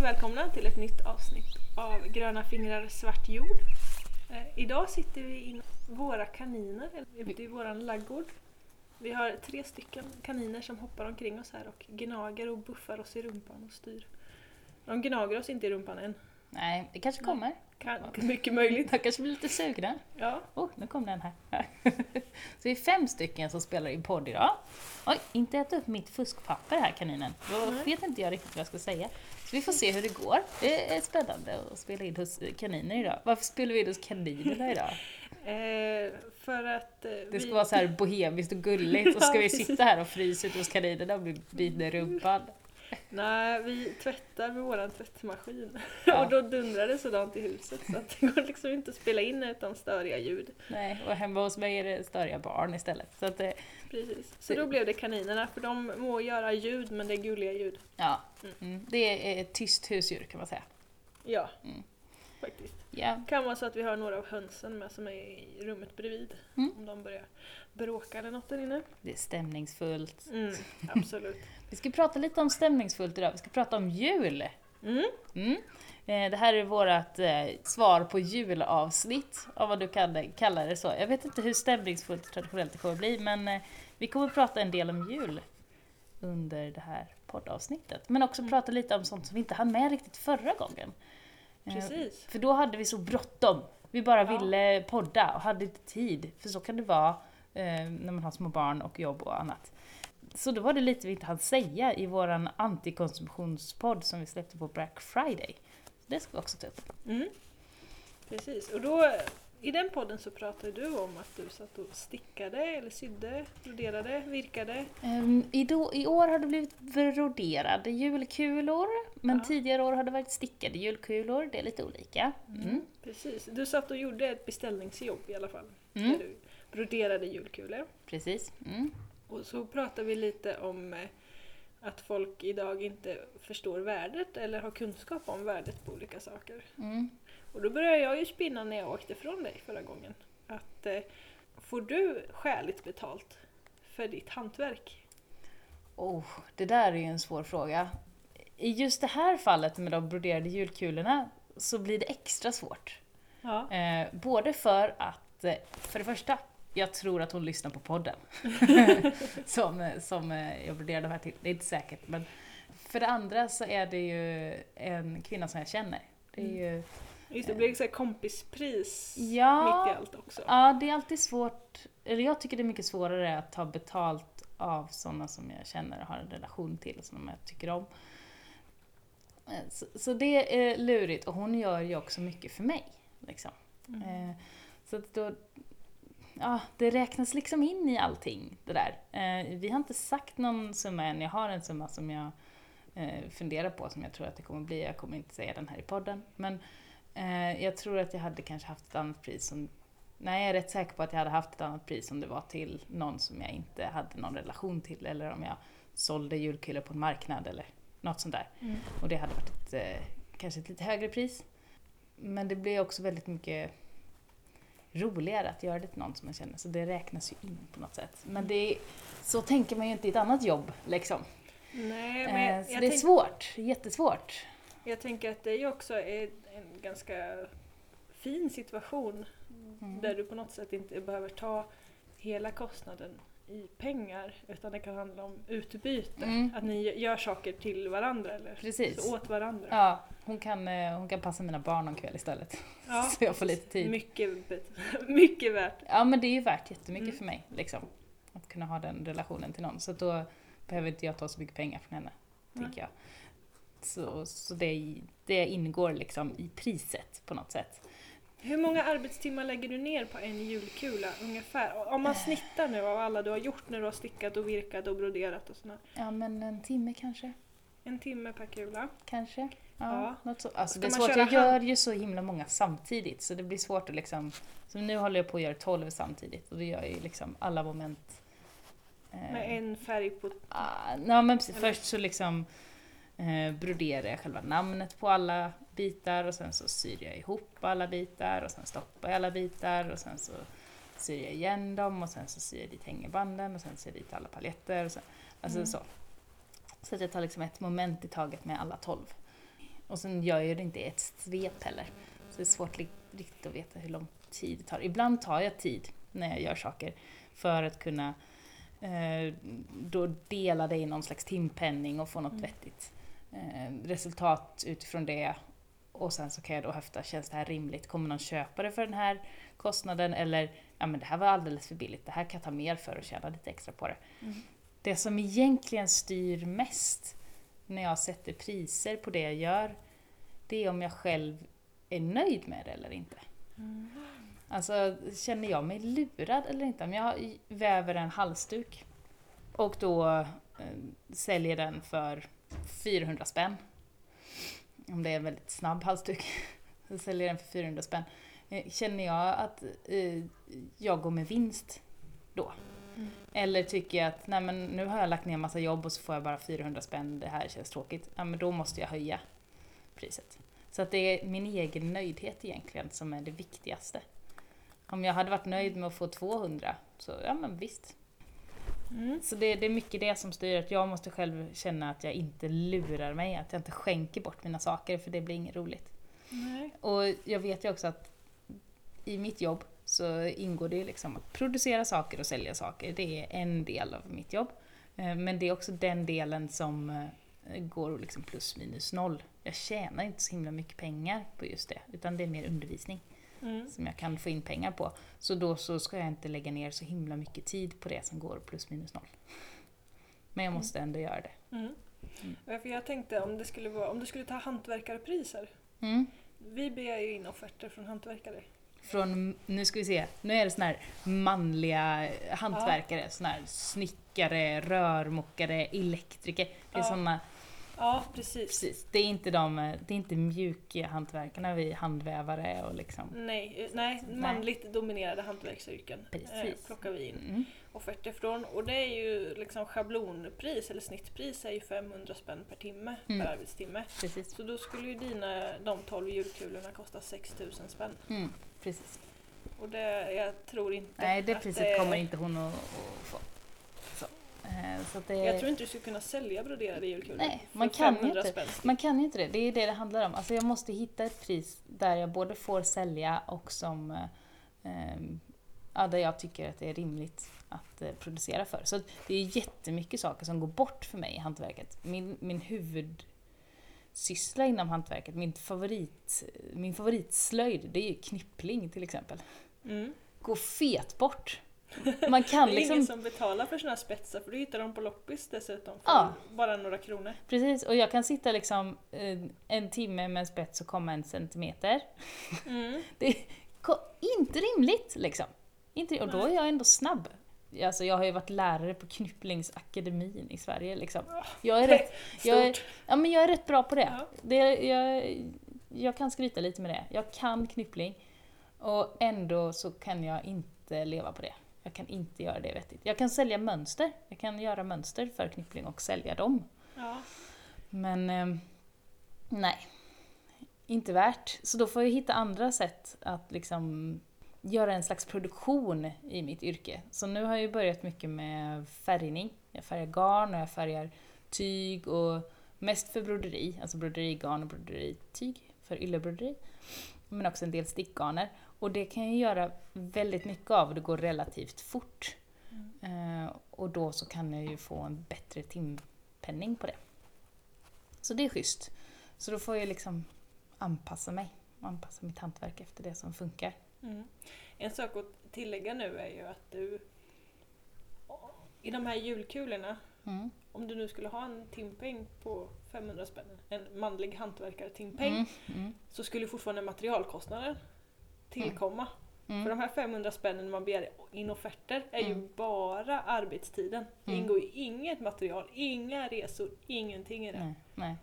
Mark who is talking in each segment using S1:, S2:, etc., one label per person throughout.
S1: välkomna till ett nytt avsnitt av Gröna fingrar svart jord. Eh, idag sitter vi i våra kaniner ute i våran laggård. Vi har tre stycken kaniner som hoppar omkring oss här och gnager och buffar oss i rumpan och styr. De gnager oss inte i rumpan än.
S2: Nej, det kanske kommer.
S1: Kan, mycket möjligt.
S2: De kanske blir lite sugna.
S1: Ja.
S2: Oh, nu kom den här. Så vi är fem stycken som spelar in podd idag. Oj, inte äta upp mitt fuskpapper här kaninen. Då
S1: Nej.
S2: vet inte jag riktigt vad jag ska säga. Så vi får se hur det går. Det är spännande att spela in hos kaniner idag. Varför spelar vi in hos kaninerna idag?
S1: Eh, för att eh,
S2: Det ska
S1: vi,
S2: vara så här bohemiskt och gulligt och ska
S1: Ja,
S2: vi
S1: precis.
S2: sitta här och frysa ute hos kaninerna och bli bitna i rumpan.
S1: nej, vi tvättar med våran tvättmaskin.
S2: Ja.
S1: och då dundrar det sådant i huset så att det går liksom inte att spela in utan störiga ljud.
S2: Nej, och hemma hos mig är det störiga barn istället. Så att, eh,
S1: Precis. Så då blev det kaninerna, för de må göra ljud men det är gulliga ljud.
S2: ja, mm, det är ett tyst husdjur kan man säga.
S1: Ja,
S2: Mm.
S1: faktiskt.
S2: Ja,
S1: Kan vara så att vi har några av hönsen med som är i rummet bredvid.
S2: Mm.
S1: Om de börjar bråka eller något där inne.
S2: det är stämningsfullt.
S1: Mm, absolut.
S2: Vi ska prata lite om stämningsfullt idag. Vi ska prata om jul.
S1: Mm.
S2: Mm. Eh, Det här är vårt eh, svar på julavsnitt, av vad du kan kalla det så. Jag vet inte hur stämningsfullt och traditionellt det kommer bli, men eh, vi kommer prata en del om jul under det här poddavsnittet. Men också
S1: Mm.
S2: prata lite om sånt som vi inte hann med riktigt förra gången. Eh,
S1: Precis.
S2: För då hade vi så bråttom. Vi bara
S1: Ja.
S2: ville podda och hade inte tid. För så kan det vara eh, när man har små barn och jobb och annat. Så då var det lite vi inte hann säga i våran antikonsumtionspodd som vi släppte på Black Friday. Så det ska vi också ta upp.
S1: Mm. Precis. Och då, i den podden så pratade du om att du satt och stickade eller sydde, broderade, virkade.
S2: Ehm, I, då, I år har det blivit broderade julkulor, men
S1: Ja.
S2: tidigare år har det varit stickade julkulor. Det är lite olika. Mm.
S1: Precis. Du satt och gjorde ett beställningsjobb i alla fall.
S2: Mm.
S1: Där du broderade julkulor.
S2: Precis. Mm.
S1: Och så pratar vi lite om eh, att folk idag inte förstår värdet eller har kunskap om värdet på olika saker.
S2: Mm.
S1: Och då började jag ju spinna när jag åkte från dig förra gången. Att eh, får du skäligt betalt för ditt hantverk?
S2: Oh, det där är ju en svår fråga. I just det här fallet med de broderade julkulorna så blir det extra svårt.
S1: Ja.
S2: Eh, både för att, eh, för det första, jag tror att hon lyssnar på podden. som eh, som eh, jag broderade de här till. Det är inte säkert. Men för det andra så är det ju en kvinna som jag känner. Det är ju,
S1: Just det, det blir så här kompispris
S2: Ja.
S1: mitt i allt också.
S2: ja, det är alltid svårt. Eller jag tycker det är mycket svårare att ta betalt av sådana som jag känner och har en relation till, som jag tycker om. Eh, Så, så det är lurigt och hon gör ju också mycket för mig. Liksom.
S1: Mm.
S2: Eh, Så att då, ja, det räknas liksom in i allting det där. Eh, Vi har inte sagt någon summa än, jag har en summa som jag eh, funderar på som jag tror att det kommer bli, jag kommer inte säga den här i podden. Men eh, jag tror att jag hade kanske haft ett annat pris om Nej, jag är rätt säker på att jag hade haft ett annat pris om det var till någon som jag inte hade någon relation till eller om jag sålde julkulor på en marknad eller något sånt där.
S1: Mm.
S2: Och det hade varit ett, eh, kanske ett lite högre pris. Men det blir också väldigt mycket roligare att göra det till någon som man känner, så det räknas ju in på något sätt. Men det är, så tänker man ju inte i ett annat jobb liksom.
S1: Nej, men
S2: Eh,
S1: jag,
S2: så det är
S1: jag, tänk,
S2: svårt, jättesvårt.
S1: jag tänker att det är ju också en, en ganska fin situation
S2: Mm.
S1: Där du på något sätt inte behöver ta hela kostnaden i pengar utan det kan handla om utbyte.
S2: Mm.
S1: Att ni gör saker till varandra eller
S2: Precis.
S1: så åt varandra.
S2: Ja, hon kan, eh, hon kan passa mina barn någon kväll istället.
S1: Ja.
S2: Så jag får lite tid.
S1: Mycket, bet- mycket värt.
S2: Ja men det är ju värt jättemycket
S1: Mm.
S2: för mig liksom. Att kunna ha den relationen till någon. Så att då behöver inte jag ta så mycket pengar från henne.
S1: Nej.
S2: Tänker jag. Så, så det, det ingår liksom i priset på något sätt.
S1: Hur många arbetstimmar lägger du ner på en julkula ungefär? Om
S2: Äh.
S1: man snittar nu av alla du har gjort när du har stickat och virkat och broderat och sådär.
S2: Ja men en timme kanske.
S1: En timme per kula.
S2: Kanske. Ja,
S1: Ja.
S2: Något så. Alltså,
S1: Ska
S2: det är
S1: man
S2: svårt,
S1: köra
S2: jag
S1: hand-
S2: gör ju så himla många samtidigt. Så det blir svårt att liksom. Så nu håller jag på att göra 12 samtidigt. Och då gör jag ju liksom alla moment. eh,
S1: Med en färg på...
S2: Ah, nej, men precis,
S1: Eller?
S2: först så liksom eh, broderar jag själva namnet på alla bitar och sen så syr jag ihop alla bitar och sen stoppar jag alla bitar och sen så syr jag igen dem och sen så syr jag dit hängebanden och sen syr jag dit alla paljetter och sen, alltså
S1: Mm.
S2: så. Så att jag tar liksom ett moment i taget med alla tolv. Och sen gör jag det inte i ett svep heller. Så det är svårt li- riktigt att veta hur lång tid det tar. Ibland tar jag tid när jag gör saker för att kunna eh, då dela det i någon slags timpenning och få något
S1: Mm.
S2: vettigt eh, resultat utifrån det. Och sen så kan jag då höfta, känns det här rimligt? Kommer någon köpa det för den här kostnaden? Eller, ja men det här var alldeles för billigt, det här kan jag ta mer för och tjäna lite extra på det.
S1: Mm.
S2: Det som egentligen styr mest när jag sätter priser på det jag gör, det är om jag själv är nöjd med det eller inte.
S1: Mm.
S2: Alltså, känner jag mig lurad eller inte? Om jag väver en halsduk och då eh, säljer den för 400 spänn. Om det är en väldigt snabb halsduk. Så säljer jag den för 400 spänn. Eh, Känner jag att eh, jag går med vinst då?
S1: Mm.
S2: Eller tycker jag att nej men, nu har jag lagt ner massa jobb och så får jag bara 400 spänn, det här känns tråkigt. Ja, men då måste jag höja priset. Så att det är min egen nöjdhet egentligen som är det viktigaste. Om jag hade varit nöjd med att få 200, så ja men visst.
S1: Mm.
S2: Så det, det är mycket det som styr, att jag måste själv känna att jag inte lurar mig, att jag inte skänker bort mina saker för det blir inget roligt.
S1: Nej.
S2: Och jag vet ju också att i mitt jobb så ingår det ju liksom att producera saker och sälja saker. Det är en del av mitt jobb. Eh, Men det är också den delen som eh, går liksom plus minus noll. Jag tjänar inte så himla mycket pengar på just det, utan det är mer undervisning
S1: Mm.
S2: som jag kan få in pengar på. Så då så ska jag inte lägga ner så himla mycket tid på det som går plus minus noll. Men jag måste ändå göra det.
S1: Mm.
S2: Mm.
S1: Ja, för Jag tänkte om, det skulle vara, om du skulle ta hantverkarpriser.
S2: Mm.
S1: Vi begär ju in offerter från hantverkare.
S2: Från, nu ska vi se, nu är det såna här manliga hantverkare, såna här snickare, rörmokare, elektriker. Det är
S1: Ja.
S2: såna,
S1: Ja, precis.
S2: precis, det är inte de, det är inte mjuka hantverkarna, vi handvävare och liksom.
S1: Nej, eh, nej,
S2: Nej.
S1: manligt dominerade hantverksyrken eh,
S2: Precis.
S1: plockar vi in.
S2: Mm.
S1: offerter från. Och det är ju liksom schablonpris eller snittpris är ju 500 spänn per timme,
S2: Mm.
S1: per arbetstimme.
S2: Precis.
S1: Så då skulle ju dina, de 12 julkulorna kosta 6000 spänn.
S2: Mm. Precis.
S1: Och det, jag tror inte
S2: Nej, det
S1: att
S2: priset kommer inte hon att, att få. Så, eh, så att det,
S1: Jag tror inte du skulle kunna sälja broderade julkulor.
S2: Nej,
S1: för
S2: man kan ju
S1: 500
S2: inte.
S1: Spänn.
S2: Man kan ju inte det, det är det det handlar om. Alltså jag måste hitta ett pris där jag både får sälja och som eh, eh, ja, där jag tycker att det är rimligt att eh, producera för. Så att det är jättemycket saker som går bort för mig i hantverket. Min, min huvudsyssla inom hantverket, min, favorit, min favoritslöjd, det är ju knippling till exempel.
S1: Mm.
S2: Går fet bort! Man kan
S1: det är ingen
S2: liksom
S1: som betalar för såna här spetsar för du hittar dem på loppis dessutom för
S2: Ja.
S1: bara några kronor.
S2: Precis, och jag kan sitta liksom eh, en timme med en spets och komma en centimeter.
S1: Mm.
S2: Det är ko- inte rimligt liksom. Inte, och då är
S1: Nej.
S2: jag ändå snabb. Alltså, jag har ju varit lärare på Knypplingsakademin i Sverige. Liksom.
S1: Ja,
S2: Jag, är
S1: det är
S2: rätt,
S1: Stort.
S2: jag, är, ja, men jag är rätt bra på det.
S1: Ja.
S2: det jag, jag kan skryta lite med det. Jag kan knyppling och ändå så kan jag inte leva på det. Jag kan inte göra det vettigt. Jag kan sälja mönster. Jag kan göra mönster för knyppling och sälja dem.
S1: Ja.
S2: Men eh, nej, inte värt. Så då får jag hitta andra sätt att liksom göra en slags produktion i mitt yrke. Så nu har jag ju börjat mycket med färgning. Jag färgar garn och jag färgar tyg och mest för broderi, alltså broderigarn och broderityg för yllebroderi. Men också en del stickgarner. Och det kan jag göra väldigt mycket av och det går relativt fort.
S1: Mm,
S2: Eh, och då så kan jag ju få en bättre timpenning på det. Så det är schysst. Så då får jag liksom anpassa mig och anpassa mitt hantverk efter det som funkar.
S1: Mm. En sak att tillägga nu är ju att du i de här julkulorna,
S2: Mm.
S1: om du nu skulle ha en timpeng på 500 spänn, en manlig hantverkartimpeng,
S2: Mm, mm,
S1: så skulle fortfarande materialkostnaden tillkomma. För
S2: mm,
S1: de här 500 spännen man begär in offerter är ju
S2: Mm.
S1: bara arbetstiden. Det
S2: Mm.
S1: ingår ju inget material, inga resor, ingenting i det.
S2: nej, nej.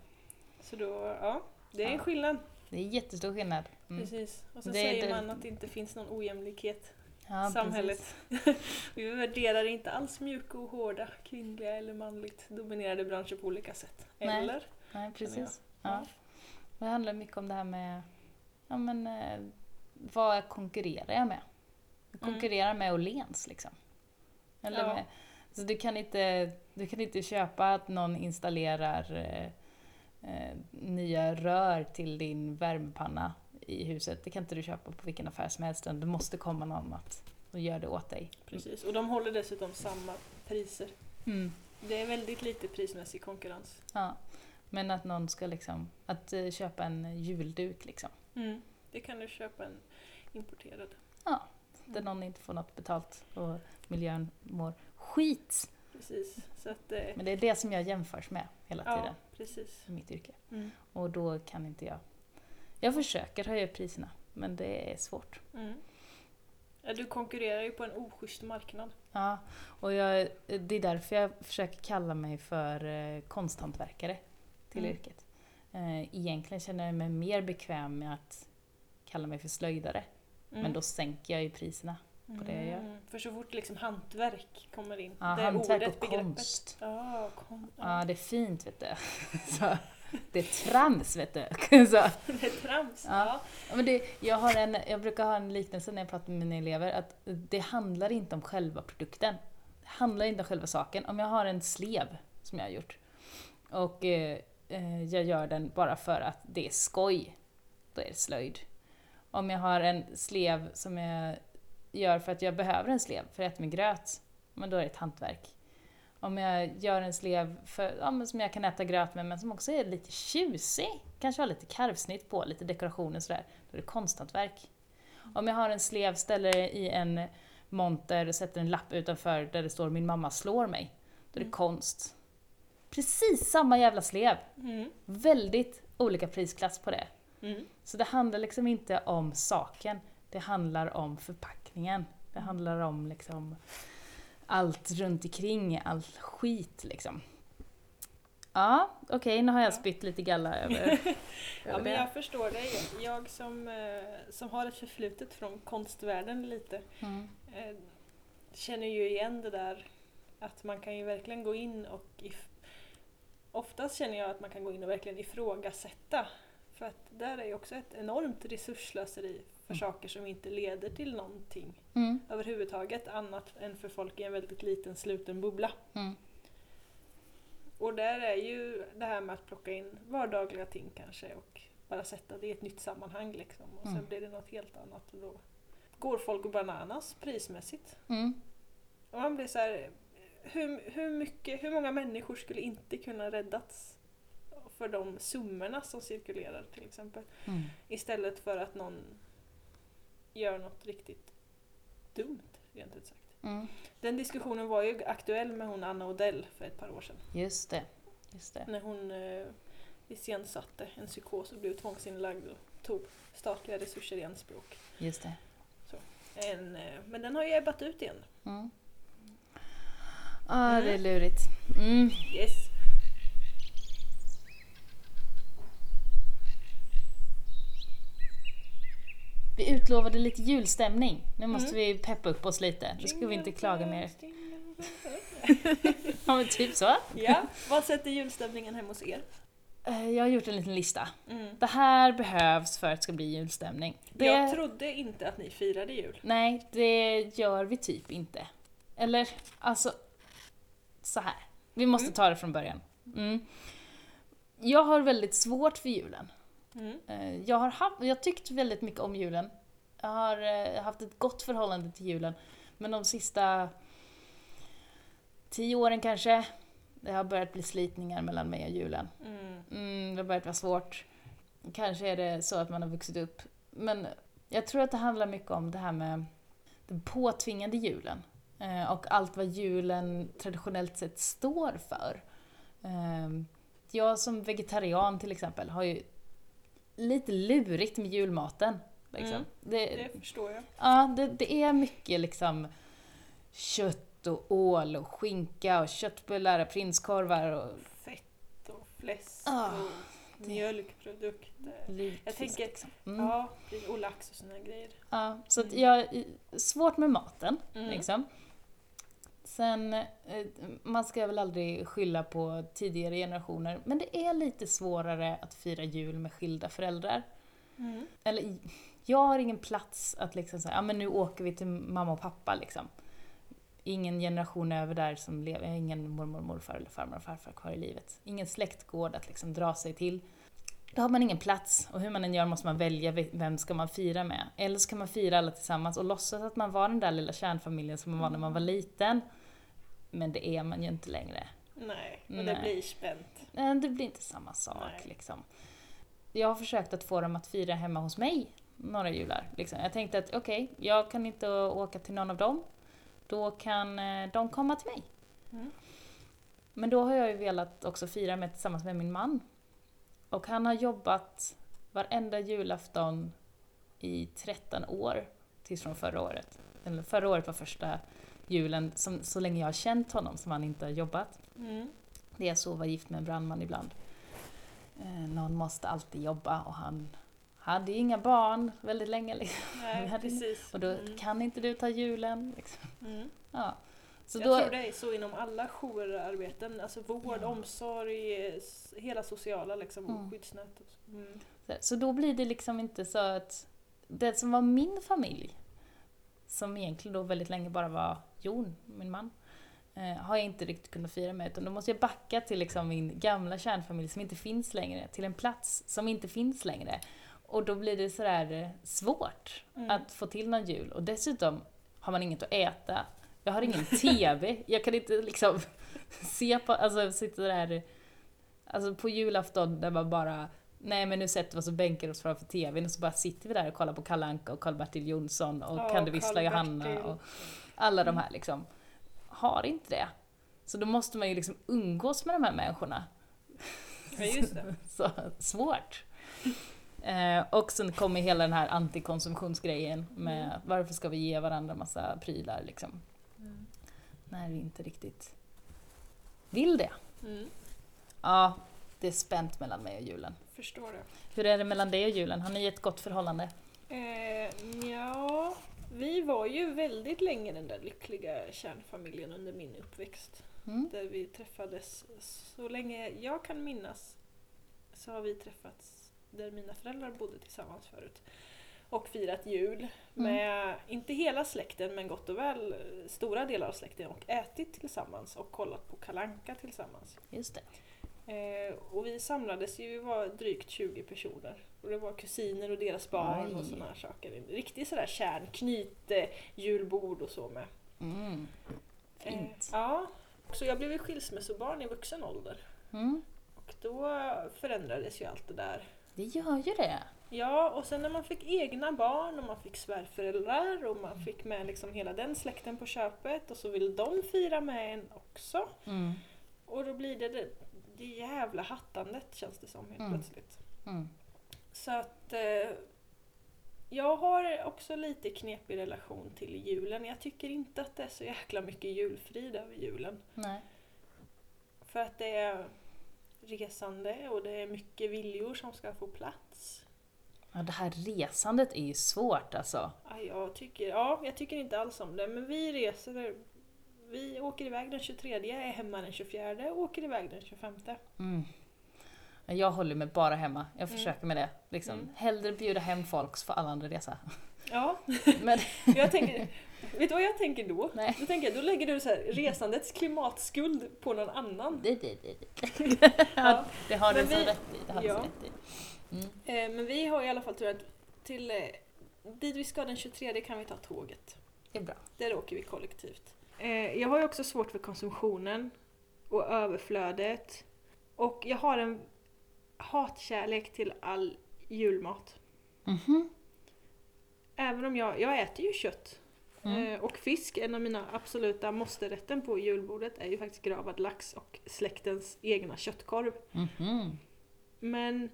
S1: Så då, ja, det är en
S2: Mm. Ja.
S1: skillnad.
S2: Det är jättestor skillnad. Mm.
S1: Precis. Och så
S2: Det-
S1: säger
S2: det-
S1: man att det inte finns någon ojämlikhet
S2: Ja,
S1: samhället.
S2: precis.
S1: Vi värderar inte alls mjuka och hårda, kvinnliga eller manligt dominerade branscher på olika sätt.
S2: Nej.
S1: Eller?
S2: Nej, precis. Ja.
S1: Ja.
S2: Det handlar mycket om det här med ja, men, eh, vad konkurrerar jag med? Jag
S1: Mm.
S2: konkurrerar med Åhléns liksom. Eller
S1: Ja.
S2: med, så du kan, inte, du kan inte köpa att någon installerar eh, eh, nya rör till din värmepanna i huset. Det kan inte du köpa på vilken affär som helst. utan Det måste komma någon att och gör det åt dig.
S1: Precis, och de håller dessutom samma priser.
S2: Mm.
S1: Det är väldigt lite prismässig konkurrens.
S2: Ja. Men att någon ska liksom, att eh, köpa en julduk liksom.
S1: Mm. Det kan du köpa en importerad.
S2: Där någon inte får något betalt och miljön mår skit.
S1: Precis, så att... Eh,
S2: Men det är det som jag jämförs med hela
S1: ja,
S2: tiden
S1: precis.
S2: i mitt yrke.
S1: Mm.
S2: Och då kan inte jag. Jag försöker höja priserna men det är svårt.
S1: Mm. Ja, du konkurrerar ju på en oschysst marknad.
S2: Ja, och jag, det är därför jag försöker kalla mig för eh, konsthantverkare till
S1: Mm.
S2: yrket. Eh, Egentligen känner jag mig mer bekväm med att kalla mig för slöjdare.
S1: Mm.
S2: Men då sänker jag ju priserna. på det jag gör.
S1: Mm. För så fort liksom hantverk kommer in,
S2: Ja, hantverk och
S1: begreppet.
S2: konst.
S1: Ja, kon-
S2: Ja,
S1: ja.
S2: det är fint vet du. Så, det är trams vet du. Så,
S1: det är trams.
S2: Ja.
S1: Ja.
S2: Ja, Men det, jag, har en, jag brukar ha en liknelse när jag pratar med mina elever, att det handlar inte om själva produkten. Det handlar inte om själva saken. Om jag har en slev som jag har gjort och eh, eh, jag gör den bara för att det är skoj, då är det slöjd. Om jag har en slev som jag gör för att jag behöver en slev för att äta min gröt, men då är det ett hantverk. Om jag gör en slev för, ja, men som jag kan äta gröt med men som också är lite tjusig, kanske har lite karvsnitt på, lite dekorationer och sådär, då är det konsthantverk. Om jag har en slev, ställer i en monter och sätter en lapp utanför där det står “min mamma slår mig”, då är det
S1: Mm.
S2: konst. Precis samma jävla slev,
S1: Mm.
S2: väldigt olika prisklass på det.
S1: Mm.
S2: Så det handlar liksom inte om saken, det handlar om förpackningen. Det handlar om liksom allt runt omkring, all skit liksom. Ja, okej, nu har jag
S1: Ja.
S2: spytt lite galla över,
S1: Ja,
S2: över
S1: men
S2: det.
S1: jag förstår dig. Jag som, eh, som har ett förflutet från konstvärlden lite
S2: Mm.
S1: eh, känner ju igen det där att man kan ju verkligen gå in och if- oftast känner jag att man kan gå in och verkligen ifrågasätta. För att där är ju också ett enormt resursslöseri för
S2: Mm.
S1: saker som inte leder till någonting
S2: Mm.
S1: överhuvudtaget annat än för folk i en väldigt liten sluten bubbla.
S2: Mm.
S1: Och där är ju det här med att plocka in vardagliga ting kanske och bara sätta det i ett nytt sammanhang liksom. Och sen
S2: Mm.
S1: blir det något helt annat och då går folk bananas prismässigt.
S2: Mm.
S1: Och man blir så här, hur, hur, mycket, hur många människor skulle inte kunna räddats för de summorna som cirkulerar till exempel?
S2: Mm.
S1: Istället för att någon gör något riktigt dumt, rent ut sagt.
S2: Mm.
S1: Den diskussionen var ju aktuell med hon Anna Odell för ett par år sedan.
S2: Just det. Just det.
S1: När hon eh, iscensatte en psykos och blev tvångsinlagd och tog statliga resurser i anspråk.
S2: Just det.
S1: En, eh, men den har ju ebbat ut igen.
S2: Mm. Ah, det är lurigt. Mm.
S1: Yes!
S2: Vi utlovade lite julstämning. Nu måste
S1: Mm.
S2: vi peppa upp oss lite. Nu ska vi inte klaga mer. Ja, men typ så.
S1: Ja, vad sätter julstämningen hemma hos er?
S2: Eh, Jag har gjort en liten lista.
S1: Mm.
S2: Det här behövs för att det ska bli julstämning. Det,
S1: Jag trodde inte att ni firade jul.
S2: Nej, det gör vi typ inte. Eller, alltså, så här. Vi måste
S1: Mm.
S2: ta det från början. Mm. Jag har väldigt svårt för julen.
S1: Mm.
S2: Eh, Jag har, haft, jag har tyckt väldigt mycket om julen. Jag har eh, haft ett gott förhållande till julen. Men de sista tio åren kanske, det har börjat bli slitningar mellan mig och julen.
S1: Mm.
S2: Mm, det har börjat vara svårt. Kanske är det så att man har vuxit upp. Men jag tror att det handlar mycket om det här med den påtvingade julen. Eh, Och allt vad julen traditionellt sett står för. Eh, Jag som vegetarian till exempel har ju lite lurigt med julmaten. Liksom.
S1: Mm,
S2: Det,
S1: Det förstår jag.
S2: ja, det, det är mycket liksom kött och ål och skinka och köttbullar och prinskorvar och
S1: Fett och fläsk
S2: Ah, Mm.
S1: och
S2: det-
S1: mjölkprodukter.
S2: lutfisk.
S1: Jag tänker-
S2: liksom. Mm.
S1: Ja, och lax och såna grejer.
S2: Ja, så att
S1: Mm.
S2: jag, svårt med maten
S1: Mm.
S2: liksom. Sen, eh, man ska väl aldrig skylla på tidigare generationer, men det är lite svårare att fira jul med skilda föräldrar.
S1: Mm.
S2: Eller, jag har ingen plats att liksom säga, ja men nu åker vi till mamma och pappa liksom. ingen generation över där som lever, jag har ingen mormor, morfar eller farmor och farfar kvar i livet. Ingen släktgård att liksom dra sig till. Då har man ingen plats och hur man än gör måste man välja ve- vem ska man fira med. Eller så kan man fira alla tillsammans och låtsas att man var den där lilla kärnfamiljen som man var när man var liten. Men det är man ju inte längre.
S1: Nej, och det
S2: Nej.
S1: blir spänt.
S2: Eh, Det blir inte samma sak
S1: Nej.
S2: liksom. Jag har försökt att få dem att fira hemma hos mig några jular. Liksom. Jag tänkte att okej, jag kan inte åka till någon av dem. Då kan eh, de komma till mig.
S1: Mm.
S2: Men då har jag ju velat också fira med tillsammans med min man. Och han har jobbat varenda julafton i 13 år tills från förra året. Eller förra året var första julen, som, så länge jag har känt honom, som han inte har jobbat.
S1: Mm.
S2: Det är så att vara gift med en brandman ibland. Eh, Någon måste alltid jobba och han hade ju inga barn väldigt länge. Liksom.
S1: Nej,
S2: hade-
S1: precis.
S2: Och då
S1: Mm.
S2: kan inte du ta julen. Liksom.
S1: Mm.
S2: Ja. Så
S1: jag
S2: då,
S1: tror det är så inom alla jourarbeten, alltså vård,
S2: Ja.
S1: omsorg, s- hela sociala liksom,
S2: Mm.
S1: och skyddsnät. Och så. Mm.
S2: så då blir det liksom inte så att det som var min familj, som egentligen då väldigt länge bara var Jon, min man, eh, har jag inte riktigt kunnat fira med. Utan då måste jag backa till liksom min gamla kärnfamilj som inte finns längre, till en plats som inte finns längre. Och då blir det sådär eh, svårt
S1: Mm.
S2: att få till någon jul. Och dessutom har man inget att äta. Jag har ingen TV. Jag kan inte liksom se på, alltså sitta där, alltså på julafton där man bara Nej men nu sätter vi oss och bänkar oss framför TVn och så bara sitter vi där och kollar på Kalle Anka och Karl-Bertil Jonsson och
S1: Ja,
S2: Kan du vissla Johanna
S1: Karl-Bertil.
S2: och alla de här liksom. Har inte det. Så då måste man ju liksom umgås med de här människorna.
S1: Ja, just det.
S2: Så svårt. Eh, och sen kommer hela den här antikonsumtionsgrejen med
S1: Mm.
S2: varför ska vi ge varandra massa prylar liksom,
S1: Mm.
S2: när vi inte riktigt vill det.
S1: Mm.
S2: Ja, det är spänt mellan mig och julen.
S1: Förstår det.
S2: Hur är det mellan dig och julen? Har ni ett gott förhållande?
S1: Eh, ja, vi var ju väldigt länge den där lyckliga kärnfamiljen under min uppväxt.
S2: Mm.
S1: Där vi träffades, så länge jag kan minnas så har vi träffats där mina föräldrar bodde tillsammans förut. Och firat jul med, inte hela släkten men gott och väl eh, stora delar av släkten och ätit tillsammans och kollat på Kalanka tillsammans.
S2: Just det.
S1: Eh, och vi samlades ju, vi var drygt 20 personer. Och det var kusiner och deras barn och
S2: Aj.
S1: sådana här saker. En riktig sådär kärnknyt, eh, julbord och så med.
S2: Mm.
S1: Eh,
S2: Fint.
S1: ja. Så jag blev ju skilsmässobarn i vuxen ålder.
S2: Mm.
S1: Och då förändrades ju allt det där.
S2: Det gör ju det.
S1: Ja, och sen när man fick egna barn och man fick svärföräldrar och man fick med liksom hela den släkten på köpet och så vill de fira med en också.
S2: Mm.
S1: Och då blir det det, det jävla hattandet känns det som helt
S2: Mm.
S1: plötsligt.
S2: Mm.
S1: Så att eh, jag har också lite knepig relation till julen. Jag tycker inte att det är så jäkla mycket julfrid över julen.
S2: Nej.
S1: För att det är resande och det är mycket viljor som ska få plats.
S2: Ja, det här resandet är ju svårt alltså.
S1: Ja, jag, tycker, ja, jag tycker inte alls om det, men vi reser. Vi åker iväg den 23, är hemma den 24 och åker iväg den 25.
S2: Mm. Jag håller mig bara hemma. Jag
S1: Mm.
S2: försöker med det. Liksom.
S1: Mm.
S2: Hellre bjuda hem folk så får alla andra resa.
S1: Ja,
S2: Men,
S1: jag tänker, vet du vad jag tänker då?
S2: Nej.
S1: Då, tänker jag, då lägger du så här, resandets klimatskuld på någon annan.
S2: det, det, det, det.
S1: Ja.
S2: det har du
S1: Men
S2: så
S1: vi-
S2: rätt i. Det har du
S1: ja.
S2: så rätt i. Mm.
S1: Eh, Men vi har i alla fall turen att till eh, dit vi ska den 23 kan vi ta tåget.
S2: Det är bra.
S1: Där åker vi kollektivt. Eh, Jag har ju också svårt för konsumtionen och överflödet. Och jag har en hatkärlek till all julmat.
S2: Mhm.
S1: Även om jag, jag äter ju kött.
S2: Mm.
S1: Eh, Och fisk, en av mina absoluta måste-rätten på julbordet, är ju faktiskt gravad lax och släktens egna köttkorv.
S2: Mhm.
S1: Men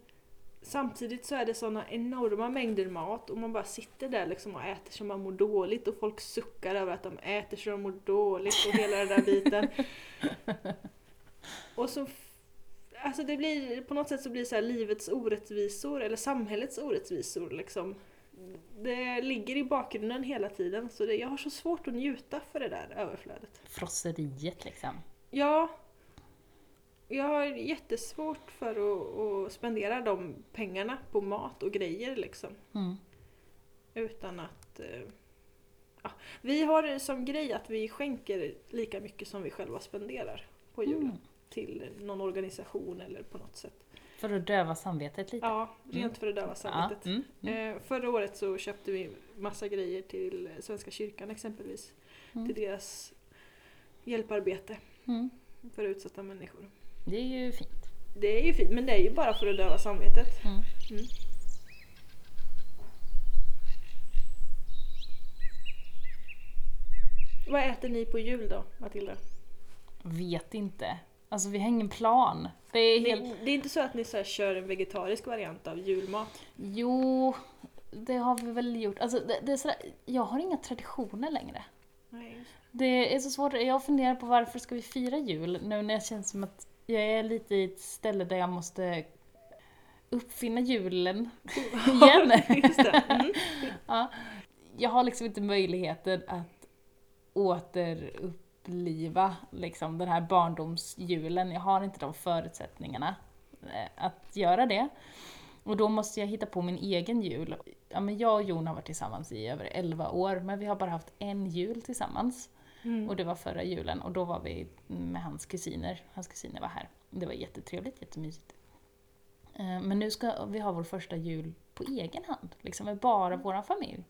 S1: samtidigt så är det såna enorma mängder mat och man bara sitter där liksom och äter så man mår dåligt och folk suckar över att de äter så de mår dåligt och hela den där biten. Och så f- Alltså det blir på något sätt så blir det så här livets orättvisor eller samhällets orättvisor liksom. Det ligger i bakgrunden hela tiden så det, jag har så svårt att njuta för det där överflödet.
S2: Frosseriet liksom.
S1: Ja. Jag har jättesvårt för att, att spendera de pengarna på mat och grejer liksom.
S2: Mm.
S1: Utan att... eh, ja, vi har som grej att vi skänker lika mycket som vi själva spenderar på julen.
S2: Mm.
S1: Till någon organisation eller på något sätt.
S2: För att döva samvetet lite.
S1: Ja, rent
S2: Mm.
S1: för att döva samvetet.
S2: Ja, mm, mm,
S1: Eh, förra året så köpte vi massa grejer till Svenska kyrkan exempelvis.
S2: Mm.
S1: Till deras hjälparbete
S2: mm.
S1: för utsatta människor.
S2: Det är ju fint.
S1: Det är ju fint, men det är ju bara för att döva samvetet.
S2: Mm.
S1: Mm. Vad äter ni på jul då, Matilda?
S2: Vet inte. Alltså vi har ingen plan. Det är helt...
S1: Det, det är inte så att ni så här kör en vegetarisk variant av julmat?
S2: Jo, det har vi väl gjort. Alltså det, det är sådär, jag har inga traditioner längre.
S1: Nej.
S2: Det är så svårt. Jag funderar på varför ska vi fira jul nu när jag känner som att jag är lite i ett ställe där jag måste uppfinna julen igen.
S1: Just det. Mm.
S2: Ja. Jag har liksom inte möjligheten att återuppliva liksom, den här barndomsjulen. Jag har inte de förutsättningarna eh, att göra det. Och då måste jag hitta på min egen jul. Ja, men jag och Jon har varit tillsammans i över 11 år, men vi har bara haft en jul tillsammans.
S1: Mm.
S2: Och det var förra julen och då var vi med hans kusiner. Hans kusiner var här. Det var jättetrevligt, jättemysigt. Eh, Men nu ska vi ha vår första jul på egen hand, liksom med
S1: Mm.
S2: bara vår familj.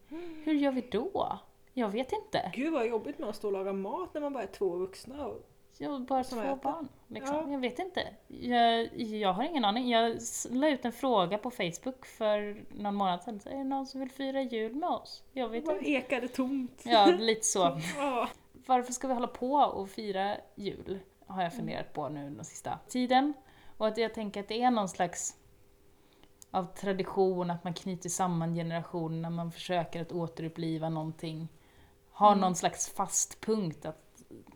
S2: Hur gör vi då? Jag vet inte.
S1: Gud vad jobbigt med att stå och laga mat när man bara är två vuxna. Och...
S2: Jag har bara
S1: Som
S2: två
S1: äter.
S2: barn. Liksom.
S1: Ja.
S2: Jag vet inte. Jag, jag har ingen aning. Jag s- la ut en fråga på Facebook för någon månad sedan. Så är det någon som vill fira jul med oss? Jag vet
S1: Bara
S2: inte.
S1: ekar det tomt.
S2: Ja, lite så.
S1: Ja.
S2: varför ska vi hålla på och fira jul? Har jag funderat på nu den sista tiden. Och att jag tänker att det är någon slags av tradition, att man knyter samman generationerna, man försöker att återuppliva någonting. Ha någon slags fast punkt att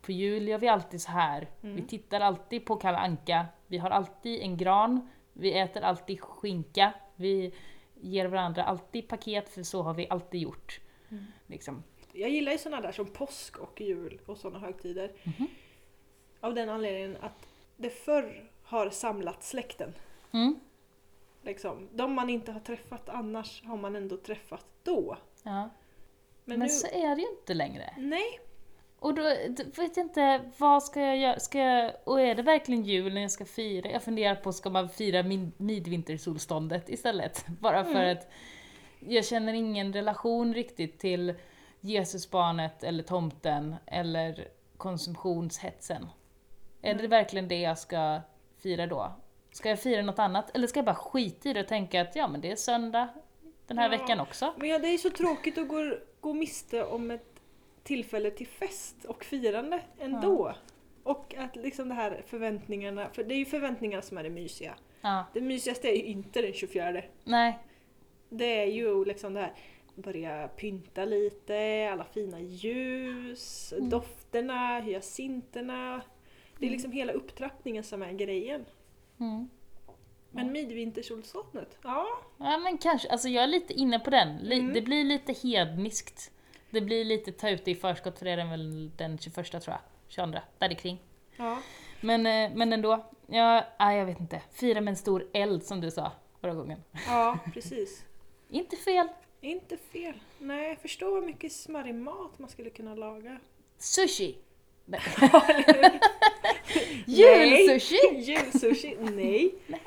S2: på jul gör vi alltid så här. Vi tittar alltid på Kalle Anka, vi har alltid en gran, vi äter alltid skinka, vi ger varandra alltid paket för så har vi alltid gjort. Liksom.
S1: Jag gillar ju sådana där som påsk och jul och sådana högtider.
S2: Mhm.
S1: Av den anledningen att det förr har samlat släkten.
S2: Mm.
S1: Liksom. De man inte har träffat annars har man ändå träffat då.
S2: Ja.
S1: Men,
S2: Men,
S1: nu...
S2: så är det ju inte längre.
S1: Nej,
S2: Och då d- vet jag inte, vad ska jag göra? Ska jag, och är det verkligen jul när jag ska fira? Jag funderar på, ska man fira min, midvintersolståndet istället? Bara för
S1: Mm.
S2: att jag känner ingen relation riktigt till Jesusbarnet eller tomten eller konsumtionshetsen. Är
S1: Mm.
S2: det verkligen det jag ska fira då? Ska jag fira något annat? Eller ska jag bara skita i det och tänka att ja men det är söndag den här
S1: Ja. Mm.
S2: veckan också?
S1: men ja, det är ju så tråkigt att gå, gå miste om ett tillfälle till fest och firande ändå. Och att liksom det här förväntningarna, för det är ju förväntningarna som är det mysiga.
S2: Ja,
S1: Det mysigaste är ju inte den 24
S2: nej.
S1: Det är ju liksom det här börja pynta lite, alla fina ljus, dofterna, hyacinterna. Det är liksom hela upptrappningen som är grejen.
S2: Mm.
S1: Men midvintersolståndet, ja.
S2: Ja men kanske, alltså jag är lite inne på den. Li-
S1: Mm.
S2: Det blir lite hedniskt. Det blir lite ta ut det i förskott för det är den väl den 21 tror jag. 22, där kring.
S1: ja.
S2: Men, eh, men ändå, ja, nej, jag vet inte. Fira med en stor eld som du sa förra gången.
S1: Ja, precis.
S2: Inte fel.
S1: Inte fel. Nej, förstå vad mycket smarrig mat man skulle kunna laga.
S2: Sushi! Nej.
S1: Nej.
S2: Julsushi!
S1: Julsushi? Nej.
S2: Nej.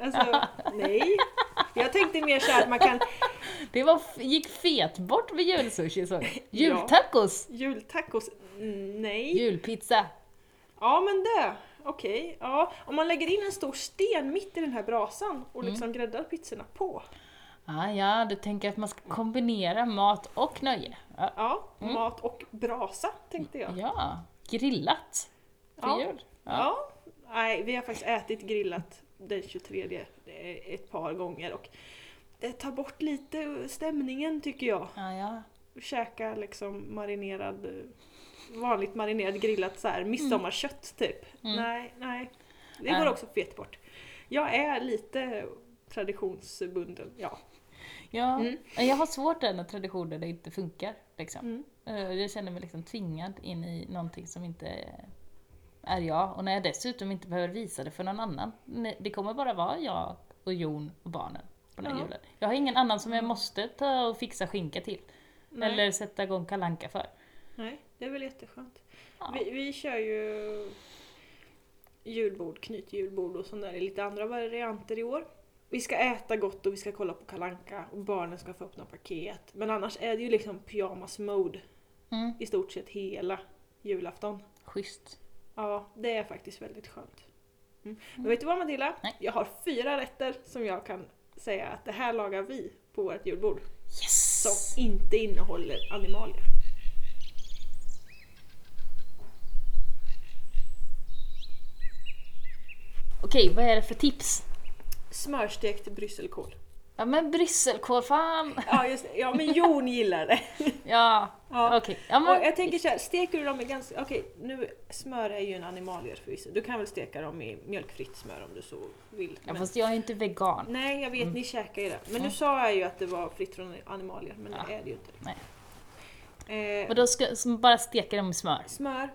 S1: Alltså, nej. Jag tänkte mer så här att man kan
S2: Det var, f- gick fet bort med julsushi såg jag. Jultacos!
S1: jultacos? Nej.
S2: Julpizza!
S1: Ja men det, okej. Ja. Om man lägger in en stor sten mitt i den här brasan och
S2: Mm.
S1: liksom gräddar pizzorna på.
S2: Ah, ja, du tänker att man ska kombinera mat och nöje. Ja,
S1: Ja,
S2: Mm.
S1: mat och brasa tänkte jag.
S2: Ja, grillat för
S1: Ja.
S2: jul. Ja.
S1: Ja. Nej, vi har faktiskt ätit grillat den 23 eh, ett par gånger och det tar bort lite stämningen tycker jag.
S2: Ja, ja.
S1: Käka liksom marinerad, eh, vanligt marinerad grillat så här midsommarkött typ. Nej, nej. Det går
S2: Nej.
S1: också fet bort. Jag är lite traditionsbunden, ja.
S2: ja.
S1: Mm.
S2: Jag har svårt där när traditioner det inte funkar. Liksom.
S1: Mm.
S2: Eh, Jag känner mig liksom tvingad in i någonting som inte är jag. Och när jag dessutom inte behöver visa det för någon annan. Nej, Det kommer bara vara jag och Jon och barnen på den här
S1: Ja. Mm.
S2: julen. Jag har ingen annan som jag måste ta och fixa skinka till.
S1: Nej.
S2: Eller sätta igång kalanka för.
S1: Nej, det är väl jätteskönt.
S2: Ja.
S1: Vi, vi kör ju julbord, knytjulbord och sånt där i lite andra varianter i år. Vi ska äta gott och vi ska kolla på Kalanka och barnen ska få öppna paket. Men annars är det ju liksom pyjamas-mode
S2: Mm.
S1: i stort sett hela julafton.
S2: Schysst.
S1: Ja, det är faktiskt väldigt skönt. Mm. Men vet du vad Matilda?
S2: Nej.
S1: Jag har fyra rätter som jag kan säga att det här lagar vi på vårt julbord.
S2: Yes!
S1: Som inte innehåller animalier.
S2: Okej, vad är det för tips?
S1: Smörstekt brysselkål.
S2: Ja men brysselkål, fan!
S1: Ja, just det. Ja, men Jon gillar det.
S2: Ja,
S1: Ja.
S2: okej. Ja, men,
S1: Och jag tänker så här, steker du dem i ganska... Okej, nu smör är ju en animalie förvisso. Du kan väl steka dem i mjölkfritt smör om du så vill.
S2: ja,
S1: Men,
S2: fast jag är inte vegan.
S1: Nej, jag vet, ni käkar ju det. Men nu
S2: Mm.
S1: sa jag ju att det var fritt från animalier, men det
S2: Ja.
S1: är det ju inte.
S2: Nej.
S1: Eh,
S2: Vadå, ska, som bara steka dem i smör?
S1: Smör,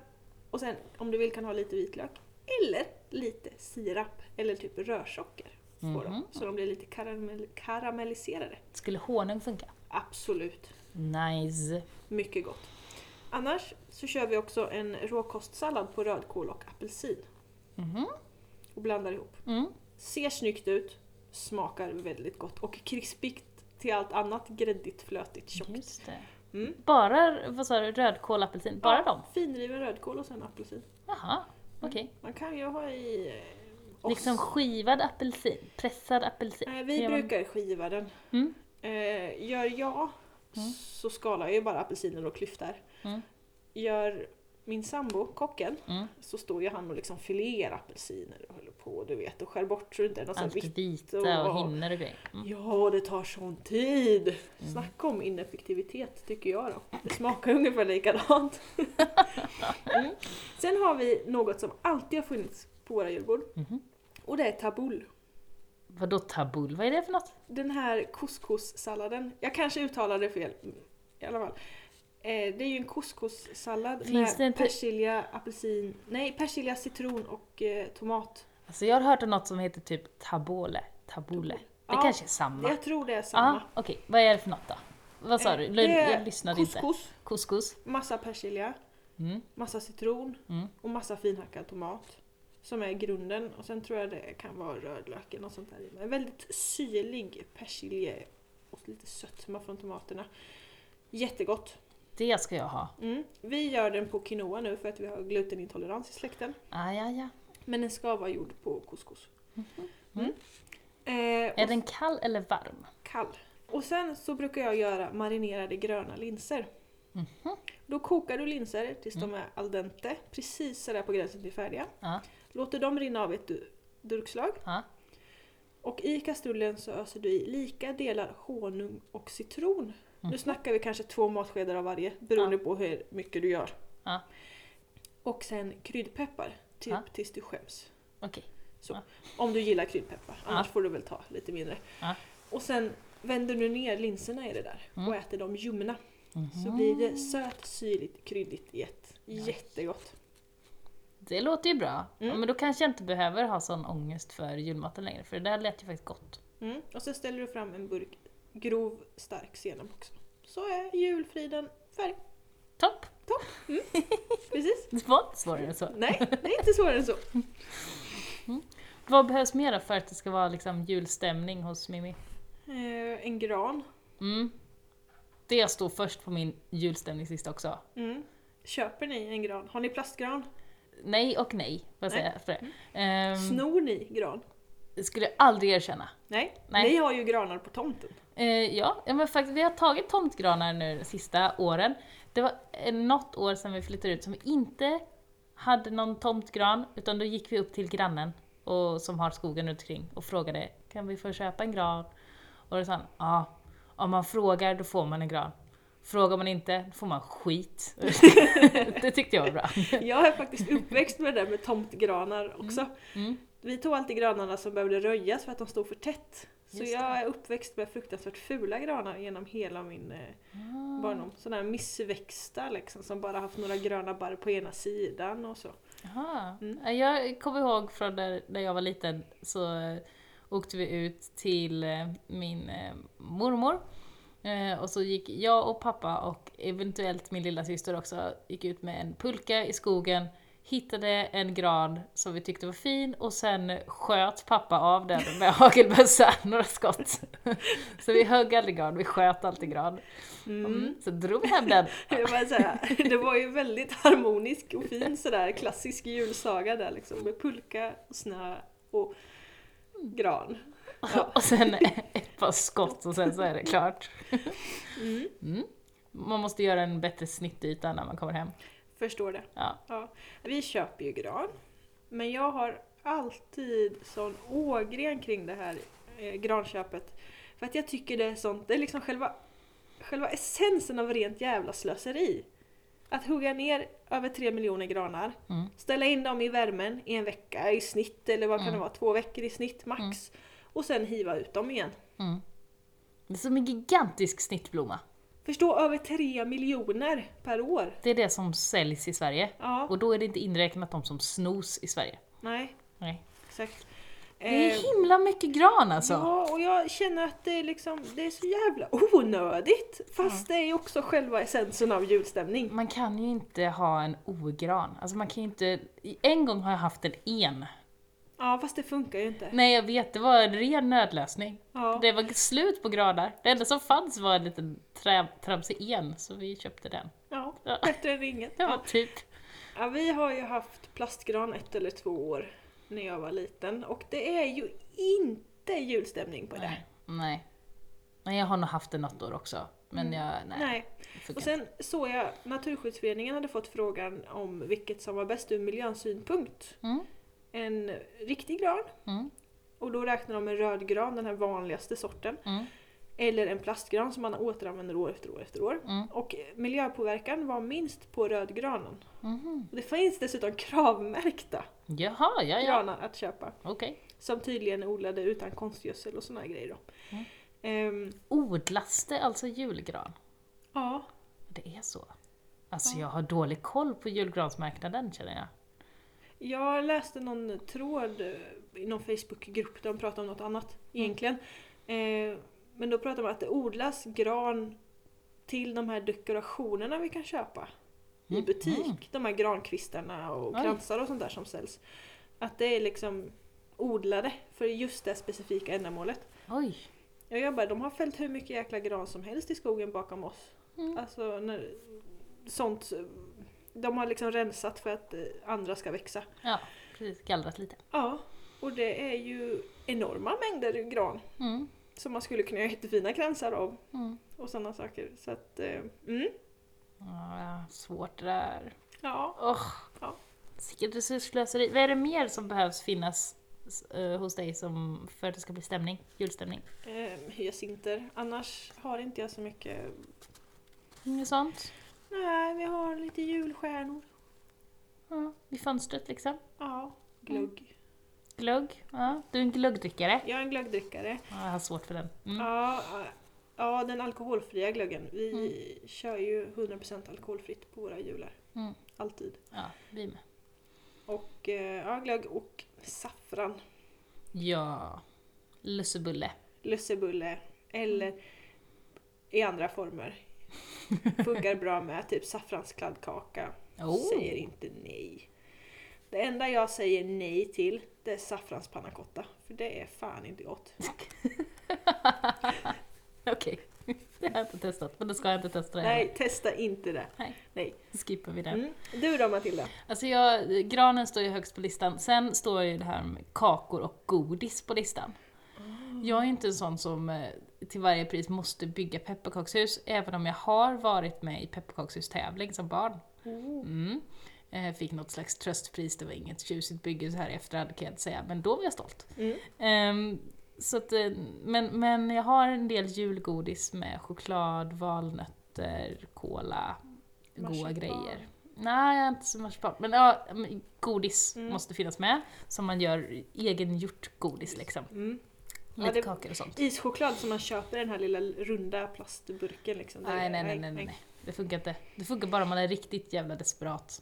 S1: och sen om du vill kan ha lite vitlök. Eller lite sirap, eller typ rörsocker. På dem,
S2: Mhm.
S1: så de blir lite karamell- karamelliserade.
S2: Skulle honung funka?
S1: Absolut.
S2: Nice.
S1: Mycket gott. Annars så kör vi också en råkostsallad på rödkål och apelsin
S2: Mhm.
S1: och blandar ihop.
S2: Mm.
S1: Ser snyggt ut, smakar väldigt gott och krispigt till allt annat gräddigt, flötigt, tjockt.
S2: Just det.
S1: Mm.
S2: Bara, vad sa du, rödkål, apelsin? Bara dem?
S1: Finriven rödkål och sen apelsin.
S2: Jaha, okej.
S1: Man kan ju ha i eh, ost.
S2: Liksom skivad apelsin? Pressad apelsin?
S1: Nej,
S2: Hur
S1: vi
S2: gör man?
S1: brukar skiva den.
S2: Mm.
S1: Eh, gör jag
S2: Mm.
S1: så skalar jag ju bara apelsiner och klyftar.
S2: Mm.
S1: Gör min sambo, kocken,
S2: Mm.
S1: så står ju han och liksom filerar apelsiner och håller på du vet och skär bort så det inte är något sånt vitt.
S2: Allt vita och
S1: och-
S2: hinner och grejer. Mm.
S1: Ja, det tar sån tid! Snacka om ineffektivitet tycker jag då. Det smakar ungefär likadant. mm. Sen har vi något som alltid har funnits på våra julbord.
S2: Mhm.
S1: Och det är tabbouleh.
S2: Vadå tabul? Vad är det för något?
S1: Den här couscous-salladen, jag kanske uttalade det fel mm, i alla fall. Eh, det är ju en couscous-sallad
S2: Finns
S1: med
S2: det inte-
S1: persilja, apelsin, nej persilja, citron och eh, tomat.
S2: Alltså jag har hört om något som heter typ tabole. Tabule. Det
S1: Ja,
S2: kanske är samma.
S1: Jag tror det är samma.
S2: Ja, okej. Vad är det för något då? Ah, Vad sa du?
S1: Eh,
S2: L-
S1: det är
S2: jag lyssnade inte.
S1: couscous,
S2: Couscous.
S1: massa persilja,
S2: Mm.
S1: massa citron
S2: Mm.
S1: och massa finhackad tomat. Som är grunden och sen tror jag det kan vara rödlök eller något sånt där i. Men väldigt syrlig persilje och lite sötma från tomaterna. Jättegott!
S2: Det ska jag ha.
S1: Mm. Vi gör den på quinoa nu för att vi har glutenintolerans i släkten.
S2: Ah, ja, ja.
S1: Men den ska vara gjord på couscous. Mm. Eh, och
S2: Mhm. Är den kall eller varm?
S1: kall. Och sen så brukar jag göra marinerade gröna linser.
S2: Mhm.
S1: Då kokar du linser tills de är al dente, precis sådär på gränsen till färdiga.
S2: Mm. Ja.
S1: Låter dem rinna av i ett du- durkslag.
S2: Ja.
S1: Och i kastrullen så öser du i lika delar honung och citron.
S2: Mhm.
S1: Nu snackar vi kanske två matskedar av varje beroende på hur mycket du gör.
S2: Ja.
S1: Och sen kryddpeppar, typ
S2: Ja.
S1: tills du skäms.
S2: Okej.
S1: Så.
S2: Ja.
S1: Om du gillar kryddpeppar, annars
S2: Ja.
S1: får du väl ta lite mindre.
S2: Ja.
S1: Och sen vänder du ner linserna i det där
S2: Mm.
S1: och äter dem ljumna. Så
S2: Mhm.
S1: blir det söt, syrligt, kryddigt i ett. Jättegott!
S2: Det låter ju bra. Ja,
S1: Mm.
S2: men då kanske jag inte behöver ha sån ångest för julmaten längre, för det där lät ju faktiskt gott.
S1: Mm. Och så ställer du fram en burk grov, stark senap också. Så är julfriden färdig.
S2: Topp!
S1: Precis!
S2: Det var inte svårare än så.
S1: Nej, det är inte svårare än så.
S2: Vad behövs mer då för att det ska vara liksom julstämning hos Mimmi?
S1: Eh, en gran.
S2: Mm. Det står först på min julstämningslista också.
S1: Mm. Köper ni en gran? Har ni plastgran?
S2: Nej och nej, vad säger jag för det? Ehm,
S1: Snor ni gran?
S2: det skulle jag aldrig erkänna.
S1: Nej.
S2: Nej.
S1: Ni har ju granar på tomten.
S2: Eh, ja, ja, men faktiskt, vi har tagit tomtgranar nu de sista åren. Det var eh, något år sedan vi flyttade ut som vi inte hade någon tomtgran, utan då gick vi upp till grannen och, som har skogen runt omkring och frågade kan vi få köpa en gran? Och då sa han ja, om man frågar då får man en gran. Frågar man inte då får man skit. det tyckte jag var bra.
S1: Jag är faktiskt uppväxt med det där med tomtgranar också.
S2: Mm.
S1: Vi tog alltid granarna som behövde röjas för att de stod för tätt. Så
S2: Just
S1: jag är uppväxt med fruktansvärt fula granar genom hela min eh,
S2: Ah.
S1: barndom. Sådana här missväxta liksom som bara haft några gröna barr på ena sidan och så.
S2: Jaha.
S1: Mm.
S2: Ja, Jag kommer ihåg från där, där jag var liten så eh, åkte vi ut till eh, min eh, mormor Eh, och så gick jag och pappa och eventuellt min lilla syster också, gick ut med en pulka i skogen, hittade en gran som vi tyckte var fin och sen sköt pappa av den med hagelbössa, några skott. så vi högg aldrig gran, vi sköt alltid gran. Mm. Så drog vi hem den.
S1: Jag bara säga, det var ju väldigt harmonisk och fin sådär klassisk julsaga där liksom med pulka, och snö och
S2: Mm.
S1: gran. Ja.
S2: och sen ett par skott och sen så är det klart.
S1: Mm.
S2: Mm. Man måste göra en bättre snittyta när man kommer hem.
S1: Förstår det.
S2: Ja.
S1: Vi köper ju gran. Men jag har alltid sån ågren kring det här eh, granköpet. För att jag tycker det är sånt, det är liksom själva, själva essensen av rent jävla slöseri. Att hugga ner över tre miljoner granar,
S2: Mm.
S1: ställa in dem i värmen i en vecka i snitt, eller vad kan det
S2: Mm.
S1: vara, två veckor i snitt max. Och sen hiva ut dem igen.
S2: Mm. Det är som en gigantisk snittblomma.
S1: Förstå, över tre miljoner per år!
S2: Det är det som säljs i Sverige.
S1: Ja,
S2: Och då är det inte inräknat de som snos i Sverige.
S1: nej,
S2: Nej.
S1: exakt.
S2: Det
S1: Eh,
S2: är himla mycket gran alltså!
S1: Ja, och jag känner att det är, liksom, det är så jävla onödigt. Fast det är ju också själva essensen av julstämning.
S2: Man kan ju inte ha en ogran. Alltså man kan ju inte... En gång har jag haft en en.
S1: Ja, fast det funkar ju inte.
S2: Nej jag vet, det var en ren nödlösning.
S1: Ja.
S2: Det var slut på granar. Det enda som fanns var en liten trä, tramsig en, så vi köpte den.
S1: Ja,
S2: Ja.
S1: bättre än inget.
S2: Det var
S1: Ja.
S2: typ...
S1: Ja, vi har ju haft plastgran ett eller två år när jag var liten och det är ju inte julstämning på det.
S2: Nej. Nej. Nej, jag har nog haft det något år också. Men jag... Nej.
S1: Mm. Nej.
S2: det funkar
S1: Och sen såg jag Naturskyddsföreningen hade fått frågan om vilket som var bäst ur miljösynpunkt.
S2: inte. Mm.
S1: En riktig gran
S2: Mm.
S1: och då räknar de en röd gran, den här vanligaste sorten.
S2: Mm.
S1: Eller en plastgran som man återanvänder år efter år efter år.
S2: Mm.
S1: Och miljöpåverkan var minst på rödgranen.
S2: Mhm.
S1: Och Det finns dessutom kravmärkta
S2: Jaha, ja, ja.
S1: granar att köpa.
S2: Okej.
S1: Som tydligen är odlade utan konstgödsel och såna här grejer då.
S2: Mm.
S1: Ehm,
S2: Odlas det alltså julgran?
S1: ja,
S2: Det är så. Alltså jag har dålig koll på julgransmarknaden känner jag.
S1: jag läste någon tråd eh, i någon Facebookgrupp där de pratade om något annat
S2: Mm.
S1: egentligen. Ehm, men då pratade de om att det odlas gran till de här dekorationerna vi kan köpa. i
S2: Mm.
S1: butik.
S2: Mm.
S1: De här grankvistarna och
S2: Oj.
S1: kransar och sånt där som säljs. Att det är liksom odlade för just det specifika ändamålet.
S2: Oj.
S1: Jag jobbar, de har fällt hur mycket jäkla gran som helst i skogen bakom oss.
S2: Mm.
S1: Alltså när, sånt. De har liksom rensat för att eh, andra ska växa.
S2: Ja, precis. Gallrat lite.
S1: Ja, och det är ju enorma mängder gran
S2: Mm.
S1: som man skulle kunna göra jättefina kransar av
S2: Mm.
S1: och sådana saker. Så att, eh, mm,
S2: Ja, svårt det där.
S1: ja.
S2: Oh.
S1: Ja.
S2: Vilket resursslöseri. Vad är det mer som behövs finnas eh, hos dig som, för att det ska bli stämning? Julstämning?
S1: Eh, hyacinter. Annars har inte jag så mycket
S2: Inget sånt?
S1: Nej, vi har lite julstjärnor.
S2: Ja. Vid fönstret liksom?
S1: Ja, Mm. glögg.
S2: Glögg? Ja. Du är en glöggdrickare?
S1: Jag är en glöggdrickare.
S2: Ja, jag har svårt för den. Mm.
S1: Ja, ja, den alkoholfria glöggen. Vi kör ju 100% alkoholfritt på våra jular.
S2: Mm.
S1: Alltid.
S2: Ja, vi med.
S1: Och eh, ja, glögg och saffran.
S2: Ja. Lussebulle.
S1: Lussebulle. Eller i andra former. Funkar bra med typ saffranskladdkaka.
S2: Oh.
S1: Säger inte nej. Det enda jag säger nej till det är saffranspannacotta. För det är fan inte gott.
S2: Okej. Det har jag inte testat, men det ska jag inte testa det
S1: Nej, testa inte det.
S2: Nej.
S1: Nej.
S2: heller. skippar vi det.
S1: Mm. Du då Matilda?
S2: Alltså jag, granen står ju högst på listan, sen står ju det här med kakor och godis på listan. Jag är inte en sån som eh, till varje pris måste bygga pepparkakshus, även om jag har varit med i pepparkakshustävling som barn.
S1: Oh.
S2: Mm. Eh, Fick något slags tröstpris, det var inget tjusigt bygge så här i efterhand kan jag inte säga, men då var jag stolt.
S1: Mm.
S2: Ehm, så att, eh, men, men jag har en del julgodis med choklad, valnötter, kola, goa
S1: Marsipan.
S2: grejer. Nej, jag är inte så marsipan. Men ja, men godis
S1: Mm.
S2: måste finnas med. Som man gör egengjort godis liksom.
S1: Mm. Ja,
S2: Lite
S1: det-
S2: kakor och sånt.
S1: Ischoklad som man köper i den här lilla runda plastburken liksom. Det-
S2: Nej, nej, nej, nej, nej. Det funkar inte. Det funkar bara om man är riktigt jävla desperat.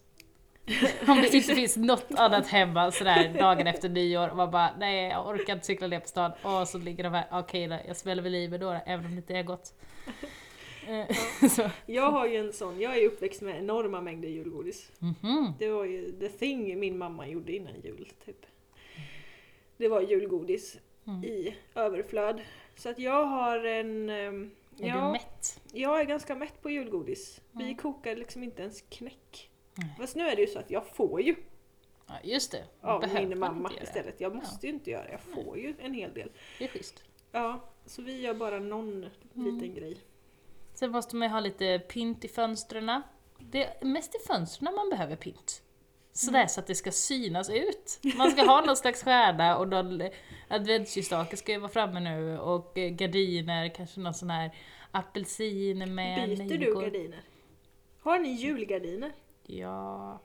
S2: Om det inte finns något annat hemma sådär dagen efter nyår och man bara nej jag orkar inte cykla ner på stan och så ligger de här, okej då, jag smäller väl i mig några även om det inte är gott. Eh, så.
S1: Jag har ju en sån, jag är uppväxt med enorma mängder julgodis.
S2: Mhm.
S1: Det var ju the thing min mamma gjorde innan jul typ. Det var julgodis
S2: Mm.
S1: i överflöd. Så att jag har en... ehm,
S2: Är
S1: ja,
S2: du mätt?
S1: jag är ganska mätt på julgodis. Vi
S2: Mm.
S1: kokar liksom inte ens knäck.
S2: Nej.
S1: Fast nu är det ju så att jag får ju
S2: Ja, just det.
S1: av
S2: Behöver
S1: min
S2: man
S1: mamma
S2: inte göra.
S1: istället. Jag måste ju inte göra det, jag får ju en hel del.
S2: Det är schysst.
S1: Ja, så vi gör bara någon
S2: Mm.
S1: liten grej.
S2: Sen måste man ju ha lite pynt i fönstren. Det är mest i fönstren man behöver pynt. Sådär
S1: Mm.
S2: så att det ska synas ut. Man ska ha någon slags stjärna och någon adventsljusstake ska ju vara framme nu och eh, gardiner, kanske någon sån här apelsin med
S1: Byter du
S2: nejlikor.
S1: gardiner? Har ni julgardiner?
S2: Ja.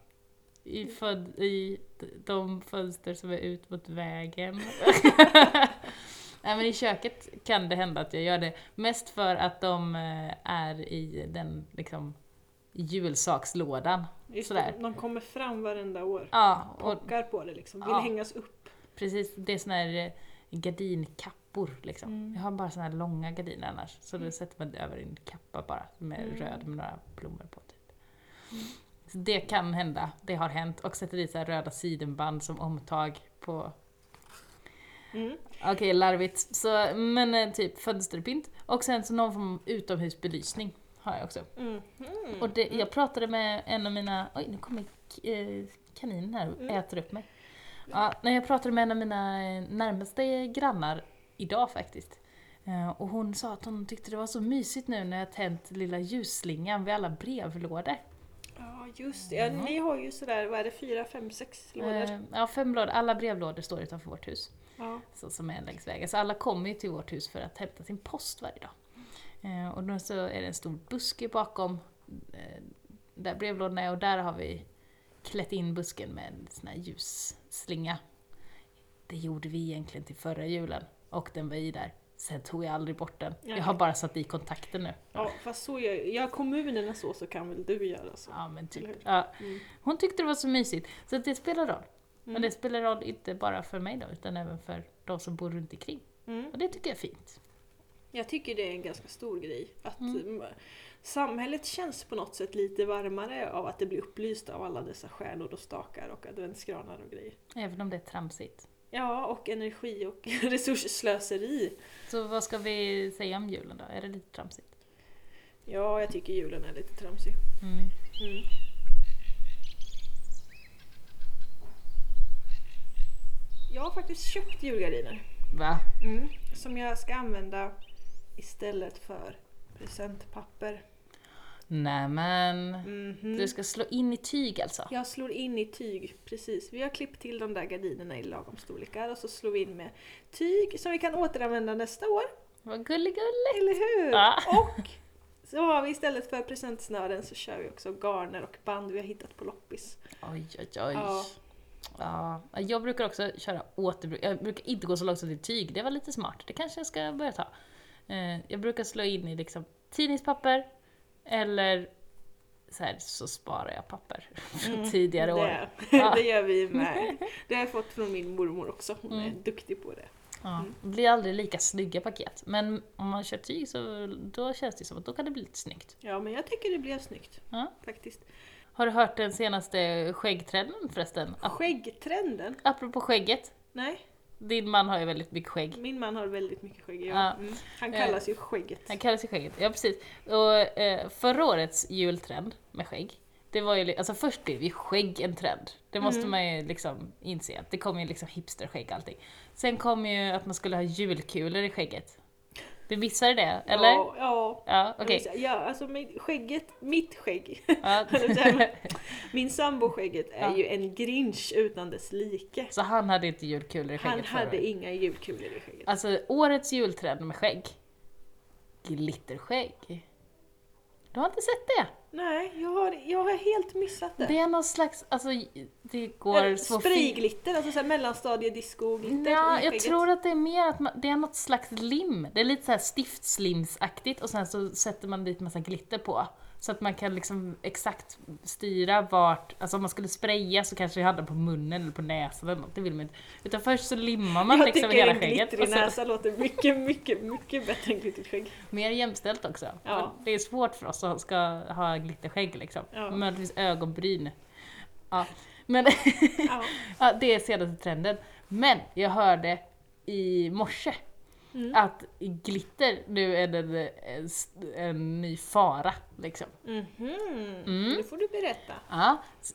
S2: I, föd, I de fönster som är ut mot vägen. Nej men i köket kan det hända att jag gör det. Mest för att de eh, är i den liksom julsakslådan.
S1: Just
S2: Sådär.
S1: det, De kommer fram varenda år.
S2: Ja, och
S1: Pockar på det liksom, vill
S2: Ja.
S1: hängas upp.
S2: precis, det är såna här eh, gardinkappor liksom. Jag har bara såna här långa gardiner annars. Så då sätter man över en kappa bara, som är röd med några blommor på typ. Så det kan hända, det har hänt. Och sätter dit så här röda sidenband som omtag på
S1: Mm.
S2: Okej, larvigt. Så, men eh, typ fönsterpynt. Och sen så någon form av utomhusbelysning har jag också.
S1: Mm.
S2: Och det, jag pratade med en av mina... Oj, nu kommer k- eh, kaninen här och
S1: Mm.
S2: äter upp mig. Ja, när jag pratade med en av mina eh, närmaste grannar idag faktiskt. Eh, Och hon sa att hon tyckte det var så mysigt nu när jag tänt lilla ljusslingan vid alla brevlådor.
S1: Ja just det, ja, ni har ju sådär, vad är det, fyra, fem, sex lådor?
S2: Eh, Ja, fem lådor. Alla brevlådor står utanför vårt hus.
S1: Ja.
S2: så, som är längs vägen. Så alla kommer ju till vårt hus för att hämta sin post varje dag. Eh, och då så är det en stor buske bakom eh, där brevlådorna är och där har vi klätt in busken med en sån här ljusslinga. Det gjorde vi egentligen till förra julen och den var i där. Sen tog jag aldrig bort den. Jag har bara satt i kontakten nu.
S1: ja, fast så gör gör kommunerna så så kan väl du göra så. Mm.
S2: Ja, men typ.
S1: Eller hur?
S2: Ja. Hon tyckte det var så mysigt. Så att det spelar roll.
S1: Mm.
S2: Men det spelar roll inte bara för mig då, utan även för de som bor runt omkring.
S1: Mm.
S2: Och det tycker jag är fint.
S1: Jag tycker det är en ganska stor grej. Att mm. Samhället känns på något sätt lite varmare av att det blir upplyst av alla dessa stjärnor och stakar och adventsgranar och grejer.
S2: Även om det är tramsigt.
S1: Ja, och energi och resursslöseri.
S2: Så vad ska vi säga om julen då? Är det lite tramsigt?
S1: Ja, jag tycker julen är lite tramsig. Mm. Jag har faktiskt köpt julgardiner.
S2: Va?
S1: Mm. Som jag ska använda istället för presentpapper.
S2: Nämen.
S1: Mhm.
S2: Du ska slå in i tyg alltså?
S1: Jag slår in i tyg, precis. Vi har klippt till de där gardinerna i lagom storlekar och så slår vi in med tyg som vi kan återanvända nästa år.
S2: Vad Ah. gulligull!
S1: Eller hur?
S2: Ja.
S1: Och så har vi istället för presentsnören så kör vi också garner och band vi har hittat på loppis.
S2: Oj, oj, oj.
S1: Ja.
S2: Ja. Jag brukar också köra återbruk. Jag brukar inte gå så långt som till tyg. Det var lite smart. Det kanske jag ska börja ta. Eh, Jag brukar slå in i liksom tidningspapper eller så här så sparar jag papper från tidigare år.
S1: Mm, Det, det gör vi med. Det har jag fått från min mormor också, hon
S2: Mm.
S1: är duktig på det.
S2: Ja. Mm. Det blir aldrig lika snygga paket. Men om man kör tyg så då känns det som att då kan det bli lite snyggt.
S1: Ja men jag tycker det blev snyggt
S2: Ja.
S1: faktiskt.
S2: Har du hört den senaste skäggtrenden förresten? Ap-
S1: Skäggtrenden?
S2: Apropå skägget,
S1: Nej,
S2: din man har ju väldigt mycket skägg.
S1: min man har väldigt mycket skägg. Ja.
S2: Ja.
S1: Mm. Han kallas ju Skägget.
S2: Han kallar sig skägget, ja precis. Och eh, förra årets jultrend med skägg, det var ju, li- alltså först blev ju skägg en trend. Det måste man ju liksom inse, att det kom ju liksom hipsterskägg och allting. Sen kom ju att man skulle ha julkulor i skägget. Du missade det, eller?
S1: Ja, ja.
S2: Ja, okej.
S1: Ja, alltså min, skägget, mitt skägg,
S2: Ja.
S1: min sambo skägget är
S2: Ja.
S1: ju en grinch utan dess like.
S2: Så han hade inte julkulor i skägget
S1: Han
S2: förra året.
S1: hade inga julkulor i skägget.
S2: Alltså årets julträd med skägg. Glitterskägg. Du har inte sett det?
S1: Nej, jag har, jag har helt missat det.
S2: Det är någon slags, alltså det
S1: Eller
S2: går små fil-
S1: Sprayglitter, alltså såhär mellanstadiedisco-glitter
S2: Ja,
S1: i
S2: jag
S1: skägget.
S2: tror att det är mer att man, det är något slags lim. Det är lite så här stiftslimsaktigt och sen så sätter man dit massa glitter på. Så att man kan liksom exakt styra vart, alltså om man skulle spraya så kanske jag hade den på munnen eller på näsan eller något, det vill man inte. Utan först så limmar man
S1: jag
S2: liksom
S1: tycker
S2: hela
S1: en
S2: skägget.
S1: glittrig
S2: och så-
S1: näsa låter mycket, mycket, mycket bättre än glittrigt skägg.
S2: Mer jämställt också.
S1: Ja.
S2: Det är svårt för oss som ska ha glitterskägg liksom.
S1: Ja.
S2: Möjligtvis ögonbryn. Ja. Men
S1: Ja.
S2: ja, det är senaste trenden. Men jag hörde i morse
S1: Mm.
S2: att glitter nu är en, en, en ny fara. Liksom.
S1: Mhm.
S2: Mm.
S1: Nu får du berätta.
S2: Ja, s-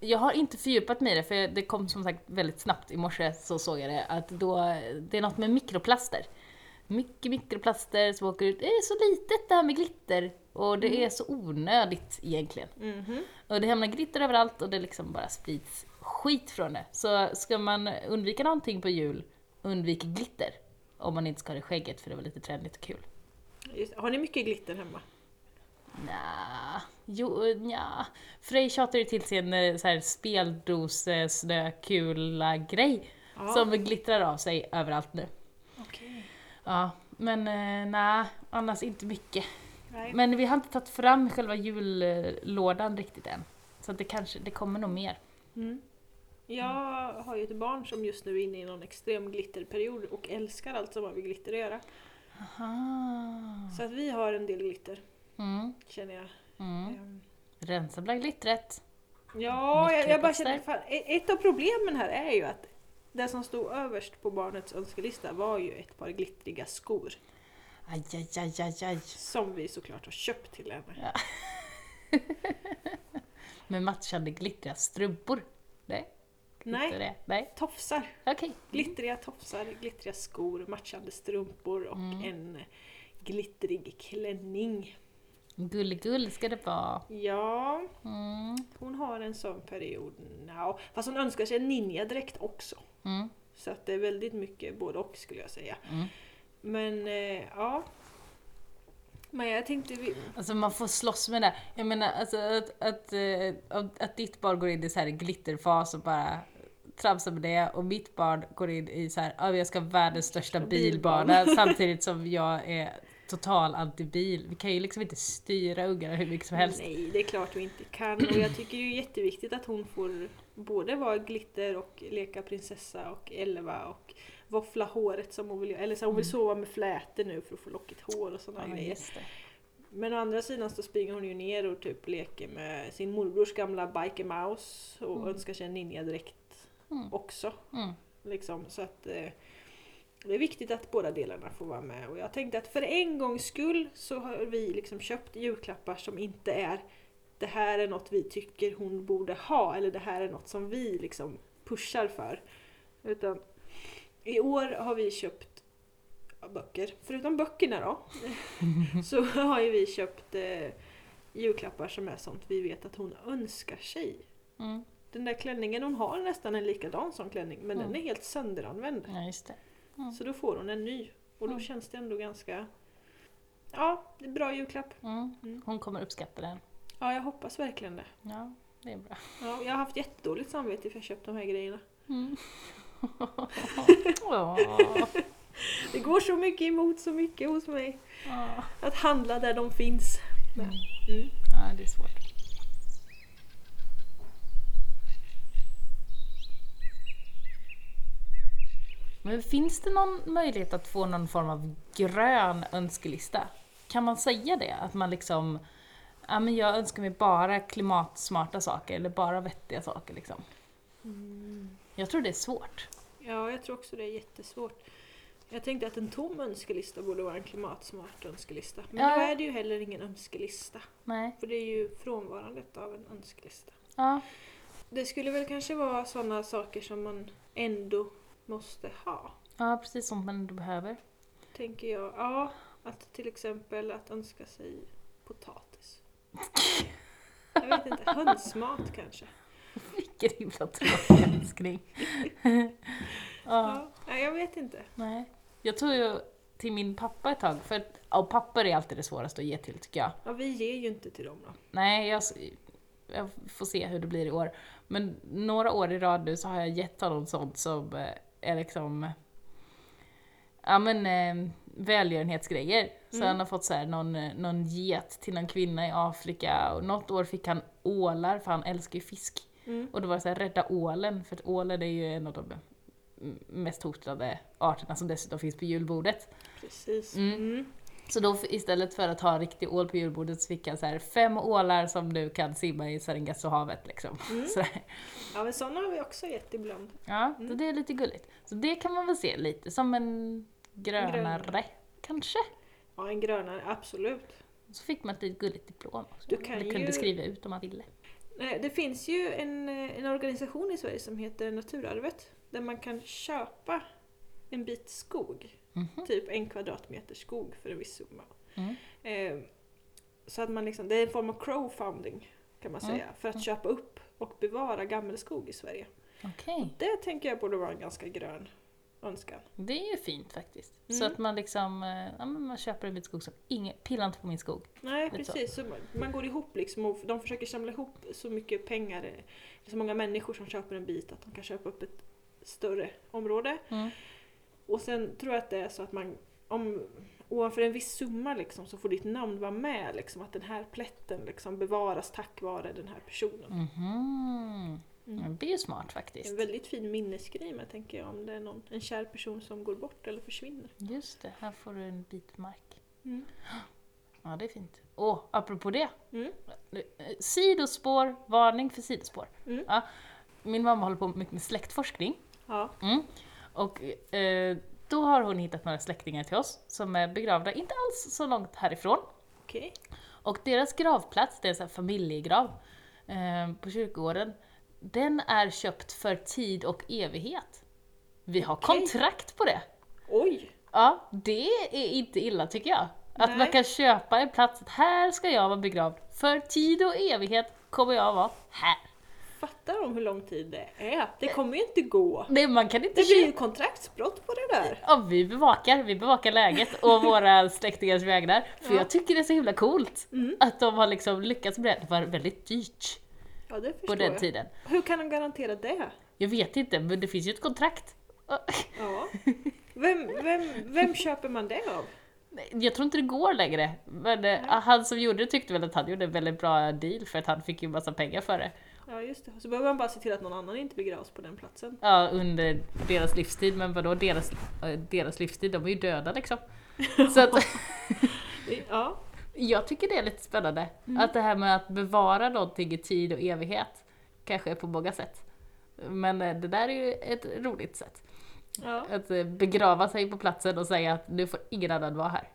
S2: jag har inte fördjupat mig i det för det kom som sagt väldigt snabbt i morse så såg jag det att då, det är något med mikroplaster. Mycket mikroplaster som åker ut. Det är så litet det här med glitter och det är så onödigt egentligen.
S1: Mhm.
S2: Och det hamnar glitter överallt och det liksom bara sprids skit från det. Så ska man undvika någonting på jul, undvik glitter. Om man inte ska ha det i skägget för det var lite trendigt och kul.
S1: Just, har ni mycket glitter hemma?
S2: Nja, jo, nja. Frej tjatade ju till sin eh, så här speldos eh, snökula grej
S1: Ja.
S2: som glittrar av sig överallt nu.
S1: Okej.
S2: Ja, men eh, nej, annars inte mycket.
S1: Nej.
S2: Men vi har inte tagit fram själva jullådan riktigt än. Så att det kanske, det kommer nog mer.
S1: Mm. Jag har ju ett barn som just nu är inne i någon extrem glitterperiod och älskar allt som har med glitter att göra.
S2: Aha.
S1: Så att vi har en del glitter,
S2: Mm,
S1: känner jag.
S2: mm.
S1: Ehm,
S2: Rensa bland glittret.
S1: Ja, jag, jag bara
S2: Mikroplaster.
S1: känner, fan, e- ett av problemen här är ju att det som stod överst på barnets önskelista var ju ett par glittriga skor.
S2: Aj, aj, aj, aj, aj.
S1: Som vi såklart har köpt till henne.
S2: Med matchande glittriga strumpor. Nej, inte
S1: Nej,
S2: det. Nej,
S1: tofsar.
S2: okej.
S1: Glittriga tofsar, glittriga skor, matchande strumpor och en glittrig klänning.
S2: Gulligull ska det vara.
S1: Ja,
S2: Mm.
S1: hon har en sån period now. Fast hon önskar sig en ninjadräkt också.
S2: Mm.
S1: Så att det är väldigt mycket både och skulle jag säga.
S2: Mm.
S1: Men eh, ja. Men jag tänkte vi...
S2: Alltså man får slåss med det. Jag menar alltså, att, att, eh, att, att ditt barn går in i så här glitterfas och bara tramsar med det och mitt barn går in i så här, "Ah, jag ska ha världens största bilbana samtidigt som jag är total antibil. Vi kan ju liksom inte styra ungarna hur mycket som helst.
S1: Nej, det är klart vi inte kan. Och jag tycker det är jätteviktigt att hon får både vara glitter och leka prinsessa och elva och våffla håret som hon vill göra. Eller så här, hon vill sova med flätor nu för att få lockigt hår och sådana
S2: Mm. Ja,
S1: grejer.
S2: just det.
S1: Men å andra sidan så springer hon ju ner och typ leker med sin morbrors gamla Biker Mouse och önskar sig en ninjadräkt
S2: Mm.
S1: också.
S2: Mm.
S1: Liksom, så att eh, det är viktigt att båda delarna får vara med. Och jag tänkte att för en gångs skull så har vi liksom köpt julklappar som inte är det här är något vi tycker hon borde ha eller det här är något som vi liksom pushar för. Utan i år har vi köpt ja, böcker. Förutom böckerna då så har ju vi köpt eh, julklappar som är sånt vi vet att hon önskar sig.
S2: Mm.
S1: Den där klänningen hon har är nästan en likadan som klänning men
S2: Mm.
S1: den är helt sönderanvänd.
S2: Ja, just det.
S1: Så då får hon en ny. Och då
S2: Mm.
S1: känns det ändå ganska... Ja, det är bra julklapp.
S2: Mm.
S1: Mm.
S2: Hon kommer uppskatta den.
S1: Ja, jag hoppas verkligen det.
S2: Ja, det är bra.
S1: Ja, jag har haft jättedåligt samvete för jag köpt de här grejerna.
S2: Mm. Åh.
S1: Det går så mycket emot så mycket hos mig.
S2: Åh.
S1: Att handla där de finns. Men,
S2: Mm.
S1: mm.
S2: Ja, det är svårt. Men finns det någon möjlighet att få någon form av grön önskelista? Kan man säga det? Att man liksom, ja men jag önskar mig bara klimatsmarta saker eller bara vettiga saker liksom. Jag tror det är svårt.
S1: Mm. Ja, jag tror också det är jättesvårt. Jag tänkte att en tom önskelista borde vara en klimatsmart önskelista. Men
S2: Ja.
S1: då är det ju heller ingen önskelista.
S2: Nej.
S1: För det är ju frånvarandet av en önskelista.
S2: Ja.
S1: Det skulle väl kanske vara sådana saker som man ändå måste ha.
S2: Ja, precis sånt man ändå behöver.
S1: Tänker jag. Ja, att till exempel att önska sig potatis. Jag vet inte, hönsmat kanske.
S2: Vilken himla tråkig önskning. ja.
S1: Ja, nej, jag vet inte.
S2: Nej. Jag tog ju till min pappa ett tag, för att, ja, och papper är alltid det svåraste att ge till tycker jag.
S1: Ja, vi ger ju inte till dem då.
S2: Nej, jag, s- jag får se hur det blir i år. Men några år i rad nu så har jag gett honom sånt som eh, är liksom... Ja men, eh, välgörenhetsgrejer. Så
S1: Mm.
S2: han har fått så här, någon, eh, någon get till någon kvinna i Afrika och något år fick han ålar för han älskar ju fisk.
S1: Mm.
S2: Och då var det så här, rädda ålen, för att ålen är ju en av de mm, mest hotade arterna som dessutom finns på julbordet.
S1: Precis.
S2: Mm.
S1: Mm.
S2: Så då f- istället för att ha riktig ål på julbordet så fick han så här fem ålar som du kan simma i Sargassohavet liksom.
S1: Mm.
S2: Så här.
S1: Ja men sådana har vi också gett ibland.
S2: Ja, så
S1: Mm.
S2: det är lite gulligt. Så det kan man väl se lite som en grönare,
S1: grönare.
S2: kanske.
S1: Ja en grönare, absolut.
S2: Så fick man ett litet gulligt diplom också.
S1: Du kan
S2: Eller kunde
S1: ju-
S2: skriva ut om man ville.
S1: Eh, Det finns ju en, eh, en organisation i Sverige som heter Naturarvet där man kan köpa en bit skog,
S2: Mhm.
S1: typ en kvadratmeter skog för en viss summa.
S2: Mm.
S1: Eh, Så att man liksom, det är en form av crowdfunding kan man
S2: Mm.
S1: säga, för att köpa upp och bevara gammelskog i Sverige.
S2: Okej,
S1: Det tänker jag borde vara en ganska grön önskan.
S2: det är ju fint faktiskt. Så
S1: Mm.
S2: att man liksom, eh, ja, men man köper en bit skog som ingen, pilla inte på min skog.
S1: Nej
S2: Lite så.
S1: precis, så man, man går ihop liksom och de försöker samla ihop så mycket pengar, eh, så många människor som köper en bit att de kan köpa upp ett större område.
S2: Mm.
S1: Och sen tror jag att det är så att man om ovanför en viss summa liksom, så får ditt namn vara med, liksom, att den här plätten liksom, bevaras tack vare den här
S2: Mm,
S1: personen.
S2: Mhm.
S1: Mm.
S2: Det är ju smart
S1: Det är
S2: faktiskt.
S1: En väldigt fin minnesgrej med tänker jag om det är någon, en kär person som går bort eller försvinner.
S2: Just det, här får du en bit mark.
S1: Mm.
S2: Ja, det är fint. Och apropå det.
S1: Mm.
S2: eh, Sidospår, varning för sidospår.
S1: Mm.
S2: Ja, min mamma håller på mycket med släktforskning.
S1: Ja.
S2: Mm. Och eh, då har hon hittat några släktingar till oss som är begravda inte alls så långt härifrån.
S1: Okej.
S2: Och deras gravplats, det är en sån här familjegrav eh, på kyrkogården, den är köpt för tid och evighet. Vi har
S1: Okej.
S2: kontrakt på det!
S1: Oj!
S2: Ja, det är inte illa tycker jag. Att man
S1: Nej.
S2: kan köpa en plats, att här ska jag vara begravd. För tid och evighet kommer jag vara här.
S1: Fattar de hur lång tid det är? Det
S2: Eh.
S1: kommer ju inte gå.
S2: Nej, man kan inte
S1: Det blir
S2: köpa...
S1: ju kontraktsbrott på det där.
S2: Ja, vi bevakar, vi bevakar läget och våra släktingars vägnar. För
S1: Ja.
S2: jag tycker det är så himla coolt
S1: Mm.
S2: att de har liksom lyckats med det. Det var väldigt dyrt
S1: Ja, det förstår
S2: på den
S1: jag.
S2: tiden.
S1: Hur kan de garantera det?
S2: Jag vet inte, men det finns ju ett kontrakt.
S1: Ja. Vem, vem, vem köper man det av?
S2: Nej, Jag tror inte det går längre. Men eh, han som gjorde det tyckte väl att han gjorde en väldigt bra deal för att han fick ju massa pengar för det.
S1: Ja just det, så behöver man bara se till att någon annan inte begravs på den platsen.
S2: Ja, under deras livstid, men vadå deras, eh, deras livstid? De är ju döda liksom. Så att,
S1: Ja,
S2: jag tycker det är lite spännande.
S1: Mm.
S2: Att det här med att bevara någonting i tid och evighet kanske är på många sätt. Men eh, det där är ju ett roligt sätt.
S1: ja.
S2: Att eh, begrava sig på platsen och säga att nu får ingen annan vara här.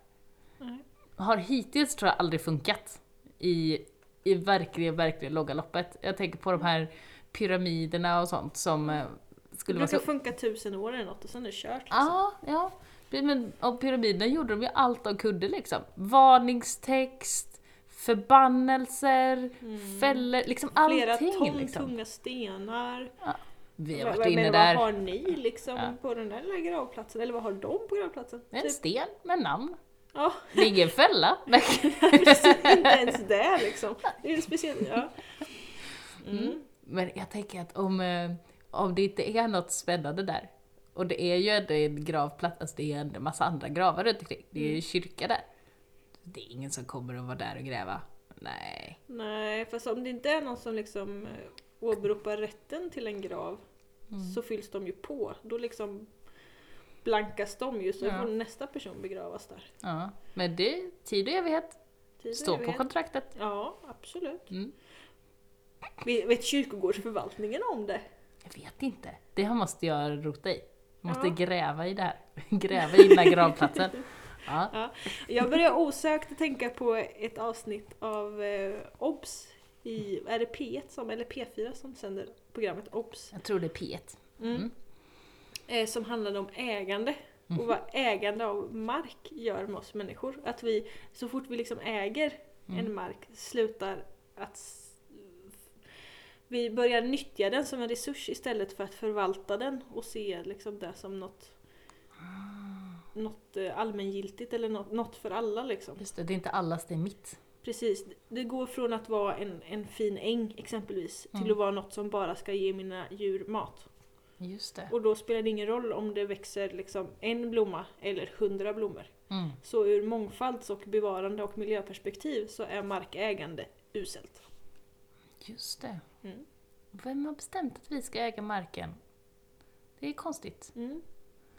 S1: Nej.
S2: Har hittills tror jag aldrig funkat i, i verkligen, verkligen långa loppet. Jag tänker på de här pyramiderna och sånt som eh,
S1: Det
S2: skulle vara
S1: brukar
S2: så Ah,
S1: funka tusen år eller något och sen är det kört. Liksom.
S2: Ja, ja. Men om pyramiderna gjorde de ju allt de kunde liksom. Varningstext, förbannelser, fällor, liksom
S1: Mm. Flera
S2: allting.
S1: ton
S2: liksom.
S1: tunga stenar.
S2: Vi har
S1: Vad-
S2: varit
S1: vad-
S2: inne
S1: men
S2: där.
S1: Vad har ni liksom
S2: Ja.
S1: på den där lilla gravplatsen? Eller vad har de på gravplatsen?
S2: En sten med namn.
S1: typ- Ja,
S2: Det är ingen fälla. Men...
S1: precis, Typ, inte ens det liksom. Det är en speciell... Ja. Mm.
S2: men jag tänker att om, eh, om det inte är något spännande där, och det är ju ändå en gravplats, alltså det är en massa andra gravar runt omkring. Det är
S1: Mm.
S2: ju en kyrka där. Det är ingen som kommer att vara där och gräva. Nej.
S1: Nej, fast om det inte är någon som liksom eh, åberopar rätten till en grav
S2: Mm.
S1: så fylls de ju på. Då liksom blankas de ju så
S2: Ja.
S1: får nästa person begravas där.
S2: Ja, men det, tid och evighet.
S1: Tid och
S2: Står på
S1: evighet.
S2: kontraktet.
S1: Ja, absolut.
S2: Mm.
S1: Vi- Vet kyrkogårdsförvaltningen om det?
S2: Jag vet inte. Det här måste jag rota i. Jag måste
S1: Ja.
S2: gräva i det här. Gräva i den här gravplatsen. Ja.
S1: Ja. Jag börjar osökt att tänka på ett avsnitt av eh, OBS i, är det P1 som, eller P4 som sänder programmet OBS?
S2: Jag tror det är P1.
S1: Mm.
S2: Mm.
S1: Eh, som handlade om ägande och vad ägande av mark gör med oss människor. Att vi så fort vi liksom äger
S2: Mm.
S1: en mark slutar att s- vi börjar nyttja den som en resurs istället för att förvalta den och se liksom det som något,
S2: Ah.
S1: något eh, allmängiltigt eller något, något för alla. Liksom.
S2: Just det, det är inte allas, det är mitt.
S1: Precis, det går från att vara en, en fin äng exempelvis till
S2: Mm.
S1: att vara något som bara ska ge mina djur mat.
S2: Just det.
S1: Och då spelar det ingen roll om det växer liksom en blomma eller hundra blommor.
S2: Mm.
S1: Så ur mångfalds och bevarande och miljöperspektiv så är markägande uselt.
S2: Just det.
S1: Mm.
S2: Vem har bestämt att vi ska äga marken? Det är konstigt.
S1: Mm.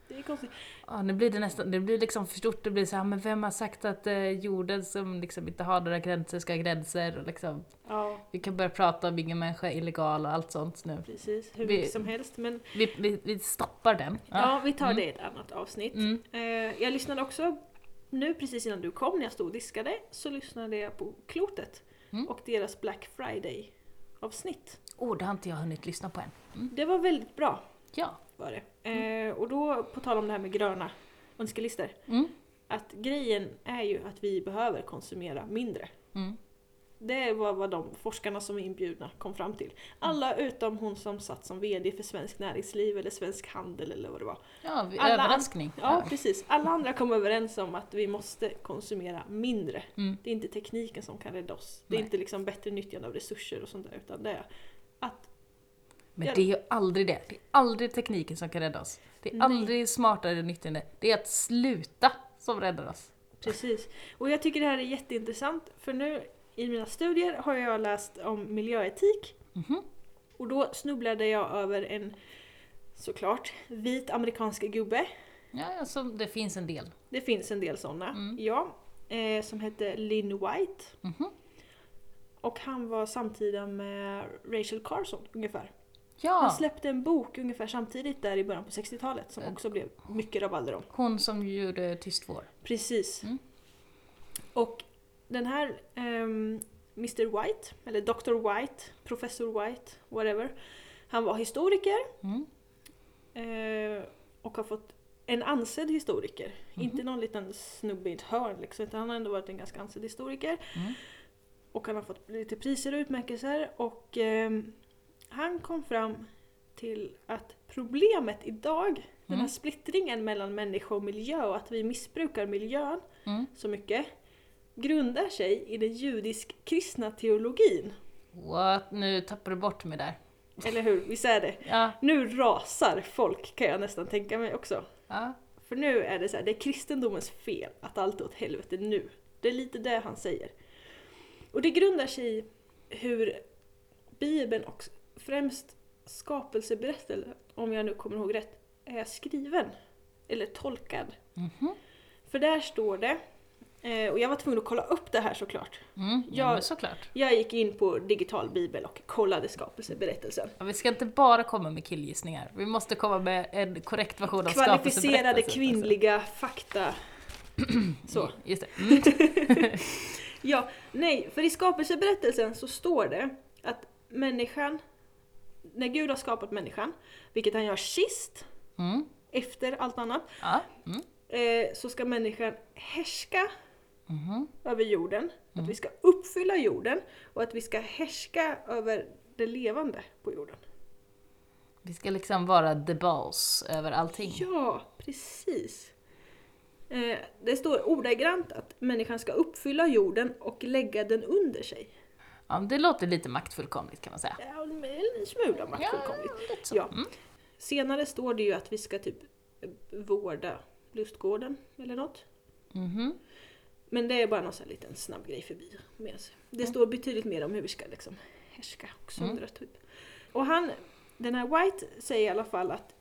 S1: Det är konstigt.
S2: Ja, nu blir det nästan, det blir liksom för stort, det blir så här, men vem har sagt att eh, jorden som liksom inte har några gränser ska ha gränser och liksom,
S1: Ja,
S2: vi kan börja prata om ingen människa är illegal och allt sånt nu.
S1: precis. Hur
S2: Vi-
S1: mycket som helst. Men
S2: Vi, vi, vi stoppar den.
S1: ja, vi tar det i ett annat avsnitt.
S2: Mm.
S1: Eh, jag lyssnade också nu precis innan du kom när jag stod och diskade så lyssnade jag på Klotet
S2: Mm.
S1: och deras Black Friday avsnitt.
S2: Åh, det har inte jag hunnit lyssna på än.
S1: Det var väldigt bra
S2: Ja.
S1: var det. Eh, och då på tal om det här med gröna önskelistor.
S2: Mm.
S1: Att grejen är ju att vi behöver konsumera mindre.
S2: Mm.
S1: Det var vad de forskarna som är inbjudna kom fram till. Alla utom hon som satt som VD för Svensk Näringsliv eller Svensk Handel eller vad det var.
S2: Ja, vi,
S1: Alla-
S2: överraskning. Mm.
S1: Ja, precis. Alla andra kom överens om att vi måste konsumera mindre.
S2: Mm.
S1: Det är inte tekniken som kan rädda oss. Det är
S2: Nej.
S1: inte liksom bättre nyttjande av resurser och sånt där utan det är att
S2: Men det är ju aldrig det. Det är aldrig tekniken som kan rädda oss. Det är
S1: Nej.
S2: aldrig smartare nyttjande. Det är att sluta som räddar oss.
S1: Precis. Och jag tycker det här är jätteintressant för nu i mina studier har jag läst om miljöetik
S2: Mhm.
S1: och då snubblade jag över en såklart vit amerikansk gubbe
S2: Ja, alltså, det finns en del.
S1: Det finns en del sådana,
S2: Mm.
S1: ja. Eh, som hette Lynn White.
S2: Mhm.
S1: Och han var samtida med Rachel Carson ungefär. Han
S2: Ja,
S1: släppte en bok ungefär samtidigt där i början på 60-talet
S2: Mm.
S1: som också blev mycket rabalder om.
S2: hon som gjorde Tyst vår.
S1: Precis.
S2: Mm.
S1: Och den här ehm, Mr White, eller Dr White, Professor White, whatever. Han var historiker
S2: Mm.
S1: Eh, och har fått en ansedd historiker. Inte någon liten snubbe i ett hörn liksom, utan han har ändå varit en ganska ansedd historiker.
S2: Mm.
S1: Och han har fått lite priser och utmärkelser och ehm, han kom fram till att problemet idag, den här
S2: Mm.
S1: splittringen mellan människa och miljö och att vi missbrukar miljön
S2: Mm.
S1: så mycket, grundar sig i den judisk-kristna teologin.
S2: What? Nu tappar du bort mig där.
S1: Eller hur? Visst är det?
S2: Ja,
S1: Nu rasar folk kan jag nästan tänka mig också.
S2: ja.
S1: För nu är det så här, det är kristendomens fel att allt är åt helvete nu. Det är lite det han säger. Och det grundar sig i hur Bibeln och främst skapelseberättelsen, om jag nu kommer ihåg rätt, är skriven. Eller tolkad.
S2: Mhm.
S1: För där står det, eh, och jag var tvungen att kolla upp det här såklart.
S2: Mm. Ja,
S1: Ja.
S2: men såklart.
S1: Jag gick in på digital bibel och kollade skapelseberättelsen.
S2: Ja, vi ska inte bara komma med killgissningar. Vi måste komma med en korrekt version av
S1: Kvalificerade
S2: skapelseberättelsen. alltså.
S1: kvinnliga fakta. Så.
S2: Just det. Mm.
S1: Ja, nej, för i skapelseberättelsen så står det att människan, när Gud har skapat människan, vilket han gör sist,
S2: Mm.
S1: efter allt annat,
S2: Ja. Mm.
S1: eh, så ska människan härska
S2: Mhm.
S1: över jorden, att vi ska uppfylla jorden och att vi ska härska över det levande på jorden.
S2: Vi ska liksom vara the boss över allting.
S1: Ja, precis. Eh, det står ordagrant att människan ska uppfylla jorden och lägga den under sig.
S2: Ja, det låter lite maktfullkomligt kan man säga.
S1: Ja, en smula maktfullkomligt.
S2: lite så.
S1: Ja.
S2: Mm.
S1: Senare står det ju att vi ska typ vårda lustgården eller något.
S2: Mhm.
S1: Men det är bara någon sån här liten snabb grej förbi. Med sig. Det
S2: Mm.
S1: står betydligt mer om hur vi ska liksom härska och söndra typ. Och han, den här White säger i alla fall att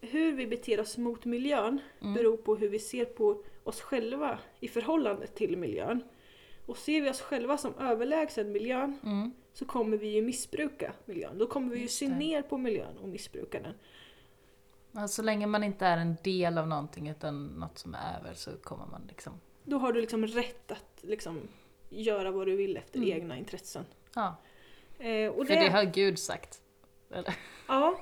S1: hur vi beter oss mot miljön
S2: Mm.
S1: beror på hur vi ser på oss själva i förhållande till miljön. Och ser vi oss själva som överlägsen miljön
S2: Mm.
S1: så kommer vi ju missbruka miljön. Då kommer vi ju
S2: Just
S1: se
S2: det.
S1: ner på miljön och missbruka den.
S2: Ja, Alltså, Så länge man inte är en del av någonting utan något som är över så kommer man liksom...
S1: Då har du liksom rätt att liksom göra vad du vill efter egna intressen.
S2: Ja,
S1: Eh, och
S2: Mm. för det har Gud sagt. Eller?
S1: ja,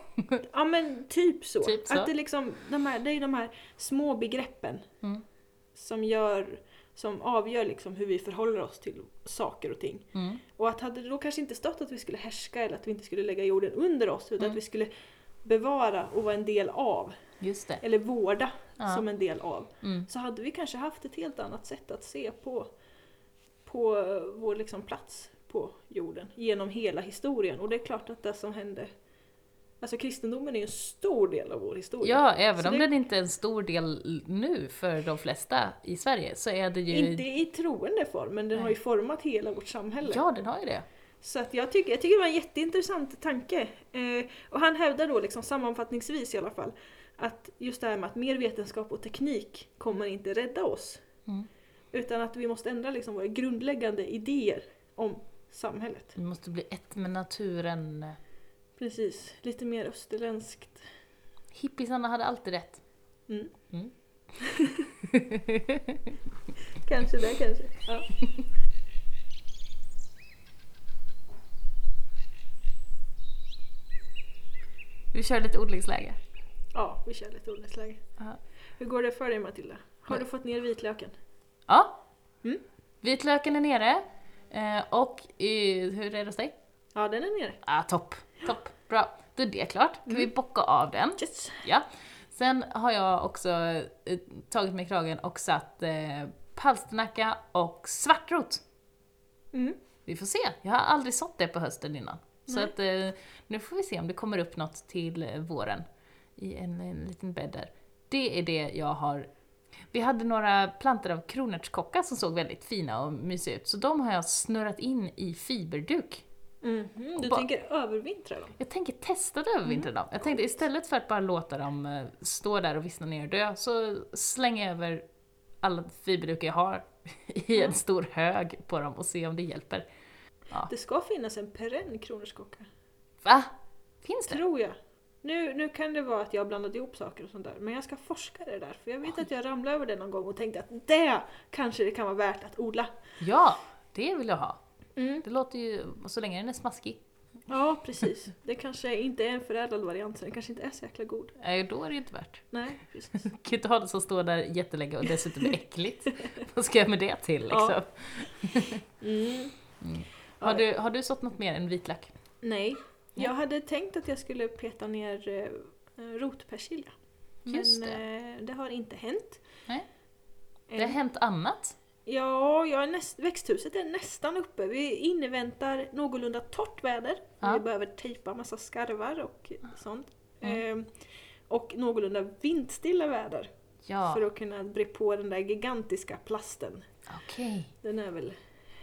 S1: ja, men typ så.
S2: Typ så.
S1: Att det, liksom, de här, det är ju de här små begreppen
S2: Mm.
S1: som, gör, som avgör liksom hur vi förhåller oss till saker och ting.
S2: Mm.
S1: Och att hade det då kanske inte stått att vi skulle härska eller att vi inte skulle lägga jorden under oss utan
S2: Mm.
S1: att vi skulle bevara och vara en del av,
S2: Just det.
S1: eller vårda
S2: Ja.
S1: som en del av.
S2: Mm.
S1: så hade vi kanske haft ett helt annat sätt att se på, på eh, vår liksom plats på jorden genom hela historien. Och det är klart att det som hände Alltså kristendomen är ju en stor del av vår historia.
S2: Ja, även
S1: Så
S2: om
S1: det-
S2: den inte är en stor del nu för de flesta i Sverige så är det ju...
S1: Inte i troende form, men den har ju format hela vårt samhälle.
S2: Ja, den har ju det.
S1: Så att jag, tycker, jag tycker det var en jätteintressant tanke. Eh, och han hävdar då liksom sammanfattningsvis i alla fall att just det här med att mer vetenskap och teknik kommer inte rädda oss.
S2: Mm.
S1: Utan att vi måste ändra liksom våra grundläggande idéer om samhället.
S2: Vi måste bli ett med naturen.
S1: Precis, lite mer österländskt.
S2: Hippisarna hade alltid rätt.
S1: Mm.
S2: Mm.
S1: Kanske det, kanske. Ja.
S2: Vi kör lite odlingsläge.
S1: ja, vi kör lite ordningsläge.
S2: Ja.
S1: Hur går det för dig Matilda? Har du fått ner vitlöken?
S2: Ja.
S1: Mm.
S2: Vitlöken är nere. Eh, och eh, hur är det hos dig?
S1: Ja, den är nere.
S2: Ah, topp, topp, bra. Då är det klart. Kan
S1: Mm.
S2: vi bocka av den?
S1: Yes.
S2: Ja. Sen har jag också eh, tagit mig i kragen och satt eh, palsternacka och svartrot.
S1: Mm.
S2: Vi får se. Jag har aldrig sått det på hösten innan. Så att, eh, nu får vi se om det kommer upp något till eh, våren i en, en liten bädd där. Det är det jag har. Vi hade några plantor av kronärtskocka som såg väldigt fina och mysiga ut, så de har jag snurrat in i fiberduk.
S1: Mhm, Du
S2: Ba-
S1: tänker övervintra dem?
S2: Jag tänker testa det över vintern då. Jag tänkte istället för att bara låta dem eh, stå där och vissna ner och dö, så slänger jag över alla fiberdukar jag har i en stor hög på dem och se om det hjälper.
S1: Det ska finnas en perenn kronärtskocka.
S2: Va? Finns det?
S1: Tror jag. Nu, nu kan det vara att jag har blandat ihop saker och sånt där, men jag ska forska det där. För jag vet att jag ramlade över det någon gång och tänkte att det kanske det kan vara värt att odla.
S2: Ja, det vill jag ha.
S1: Mm.
S2: Det låter ju, så länge den är smaskig,
S1: Ja, precis. Det kanske inte är en förädlad variant, så den kanske inte är så jäkla god.
S2: eh, då är det ju inte värt.
S1: Nej, precis.
S2: Du kan ju inte ha det som står där jättelänge och dessutom är äckligt. Vad ska jag med det till liksom?
S1: Ja. Mm.
S2: Har, du, har du sått något mer än vitlök?
S1: Nej.
S2: Ja.
S1: Jag hade tänkt att jag skulle peta ner eh, rotpersilja.
S2: Just
S1: men
S2: det.
S1: eh, det har inte hänt.
S2: Nej.
S1: Än.
S2: Det har hänt annat.
S1: Ja, jag är näst, växthuset är nästan uppe. Vi inväntar någorlunda torrt väder.
S2: Ja.
S1: Vi behöver tejpa massa skarvar och sånt. Ehm, och någorlunda vindstilla väder
S2: Ja,
S1: för att kunna bre på den där gigantiska plasten.
S2: okej.
S1: Den är väl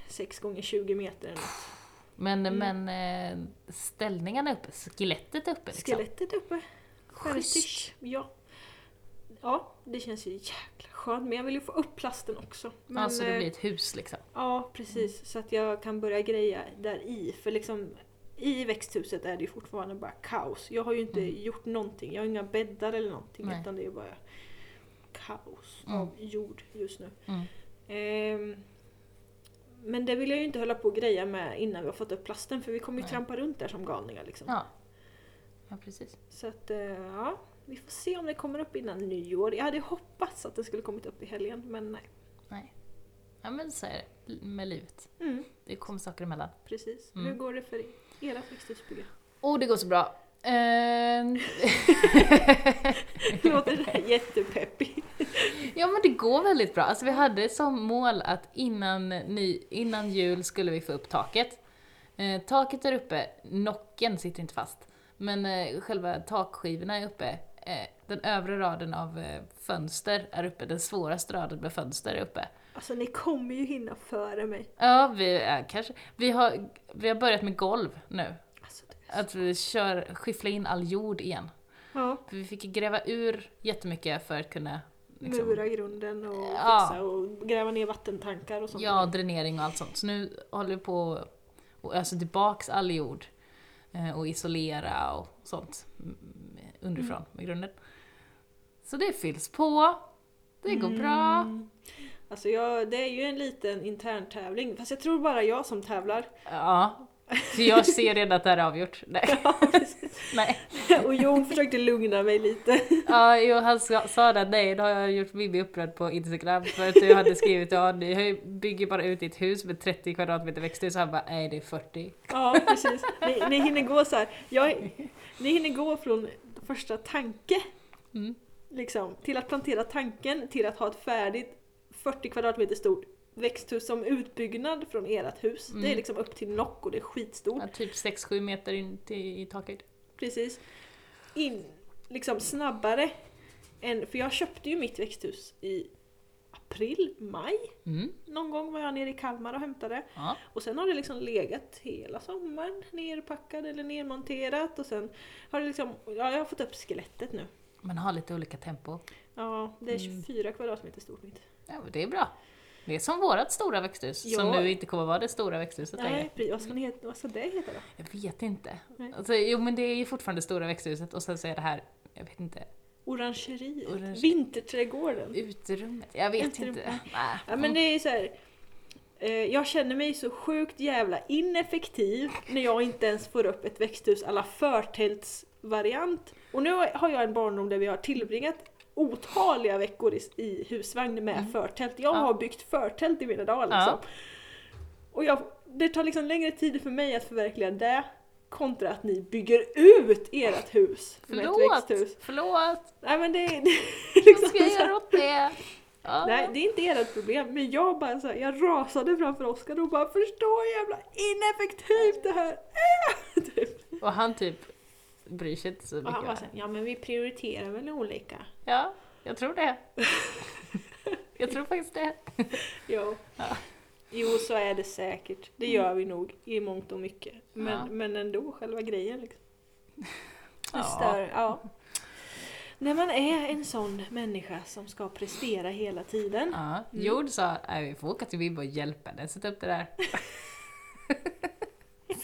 S1: 6 gånger 20 meter. eller något.
S2: Men,
S1: Mm.
S2: men eh, ställningarna är uppe, skelettet är uppe liksom.
S1: Skelettet uppe.
S2: Schysst.
S1: Schysst. Ja. ja, det känns ju jäkla skönt. Men jag vill ju få upp plasten också. Men,
S2: alltså det
S1: eh,
S2: blir ett hus liksom.
S1: Ja, precis. Så att jag kan börja greja där i. För liksom i växthuset är det ju fortfarande bara kaos. Jag har ju inte gjort någonting. Jag har inga bäddar eller någonting.
S2: Mm. Nej.
S1: Utan det är bara kaos
S2: Mm.
S1: av jord just nu.
S2: Mm.
S1: Ehm, men det vill jag ju inte hålla på och greja med innan vi har fått upp plasten. För vi kommer ju
S2: Nej.
S1: trampa runt där som galningar liksom.
S2: Ja. ja, precis.
S1: Så att eh, ja, vi får se om det kommer upp innan nyår. Jag hade hoppats att det skulle kommit upp i helgen, men nej.
S2: Nej. Ja men så är det med livet.
S1: Mm,
S2: Det kommer saker emellan.
S1: precis.
S2: Mm.
S1: Hur går det för era växthusbygge?
S2: Åh, oh, det går så bra. Eh,
S1: Låter det här jättepeppig?
S2: Ja men det går väldigt bra. Alltså vi hade som mål att innan, ny, innan jul skulle vi få upp taket. Eh, taket är uppe, nocken sitter inte fast. Men eh, själva takskivorna är uppe. Eh, den övre raden av eh, fönster är uppe, den svåraste raden med fönster är uppe.
S1: Alltså ni kommer ju hinna före mig.
S2: Ja, vi, är kanske, vi, har, vi har börjat med golv nu.
S1: Alltså, du-
S2: Att vi kör, skyffla in all jord igen.
S1: ja,
S2: För vi fick gräva ur jättemycket för att kunna liksom,
S1: mura grunden och
S2: Ja.
S1: fixa och gräva ner vattentankar och sånt.
S2: Ja, dränering och allt sånt. Så nu håller vi på och öser tillbaks all jord eh, och isolera och sånt mm, underifrån med grunden. Så det fylls på, det går bra.
S1: Alltså jag, det är ju en liten intern tävling. fast jag tror bara jag som tävlar.
S2: Ja, för jag ser redan att det här är avgjort. Nej. Nej.
S1: och Jon försökte lugna mig lite.
S2: Ja, jo, han sa sa det, nej, då har jag gjort Mimmi upprörd på Instagram för att du hade skrivit ja, ni höj- bygger bara ut ditt hus med 30 kvadratmeter växthus. Han bara, nej det är 40.
S1: Ja, precis. Ni, ni hinner gå så här. Jag, ni hinner gå från första tanke
S2: Mm.
S1: liksom, till att plantera tanken till att ha ett färdigt 40 kvadratmeter stort växthus som utbyggnad från ert hus. Det är liksom upp till nock och det är skitstort.
S2: Ja, typ 6-7 meter in till, i taket.
S1: Precis. in, liksom snabbare än... För jag köpte ju mitt växthus i april, maj.
S2: Mm.
S1: Någon gång var jag nere i Kalmar och hämtade.
S2: Ja.
S1: Och sen har det liksom legat hela sommaren nerpackat eller nermonterat och sen har det liksom... Ja, jag har fått upp skelettet nu.
S2: Man har lite olika tempo.
S1: Ja, det är 24 kvadratmeter stort mitt.
S2: Ja, men det är bra. Det är som vårat stora växthus,
S1: Ja.
S2: som nu inte kommer vara det stora växthuset längre.
S1: Nej, precis. vad ska, ni, heta- vad ska det heta då?
S2: Jag vet inte.
S1: Nej.
S2: Alltså, jo men det är ju fortfarande stora växthuset och sen så är det här, jag vet inte,
S1: Orangeriet?
S2: Orangeri-
S1: Vinterträdgården?
S2: utrymmet. Jag vet
S1: Utrymmet.
S2: inte. Nej.
S1: Ja men det är ju så här. eh, Jag känner mig så sjukt jävla ineffektiv när jag inte ens får upp ett växthus alla förtältsvariant. Och nu har jag en barndom där vi har tillbringat otaliga veckor i, i husvagn med förtält. Jag
S2: Mm. Ja.
S1: har byggt förtält i mina dagar
S2: Ja.
S1: liksom. Och jag, det tar liksom längre tid för mig att förverkliga det kontra att ni bygger ut ert hus med ett
S2: Förlåt!
S1: växthus.
S2: Förlåt!
S1: Nej men det, det är liksom
S2: Vad ska jag
S1: så här-
S2: göra åt det? Ja.
S1: Nej, det är inte ert problem, men jag bara så här, jag rasade framför Oskar och bara förstå hur jävla ineffektivt det här är! Typ.
S2: Och han typ bryr sig inte så mycket.
S1: Och han bara så
S2: va?
S1: här, ja men vi prioriterar väl olika.
S2: ja, jag tror det. jag tror faktiskt det.
S1: Jo.
S2: Ja.
S1: jo, så är det säkert. Det gör vi nog i mångt och mycket. Men,
S2: Ja.
S1: men ändå, själva grejen liksom. Det
S2: Ja.
S1: stör, ja. När man är en sån människa som ska prestera hela tiden.
S2: Ja. Jord sa att vi får åka till Bibbo och hjälpa dig sätta upp det där.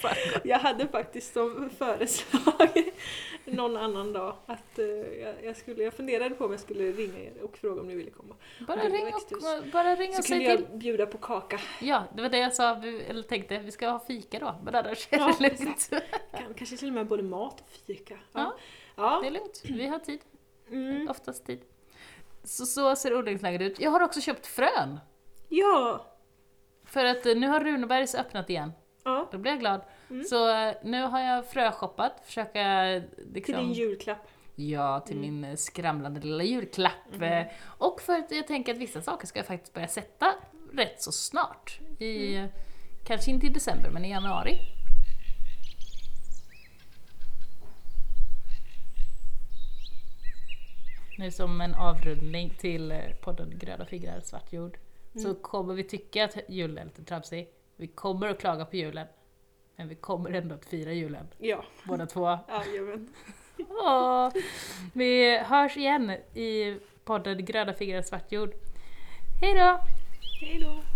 S2: Så.
S1: Jag hade faktiskt som föreslag någon annan dag att eh, jag, jag, skulle, jag funderade på om jag skulle ringa er och fråga om ni ville komma.
S2: Bara
S1: Det är
S2: ring
S1: växthus.
S2: och, bara ring
S1: Så
S2: och säg
S1: kunde
S2: till.
S1: jag bjuda på kaka.
S2: Ja, det var det jag sa, vi, eller tänkte, vi ska ha fika då, men annars är
S1: Ja,
S2: det lugnt.
S1: Kan, kanske till och med både mat och fika.
S2: Ja. Det
S1: ja.
S2: är lugnt, vi har tid,
S1: Mm.
S2: oftast tid. Så, så ser odlingsläget ut. Jag har också köpt frön!
S1: ja.
S2: För att eh, nu har Runebergs öppnat igen,
S1: ja.
S2: då blir jag glad.
S1: Mm.
S2: Så eh, nu har jag fröshoppat, försöka eh, liksom,
S1: Till din julklapp.
S2: Ja, till min eh, skramlande lilla julklapp. Eh, Och för att jag tänker att vissa saker ska jag faktiskt börja sätta rätt så snart. I, eh, Kanske inte i december, men i januari. Nu som en avrundning till eh, podden Gröna fingrar, svart jord. Så kommer vi tycka att julen är lite tramsig. Vi kommer att klaga på julen. Men vi kommer ändå att fira julen,
S1: Ja,
S2: båda två.
S1: jajamän.
S2: Åh, vi hörs igen i podden Gröna fingrar svart jord. Hej då!
S1: Hej då.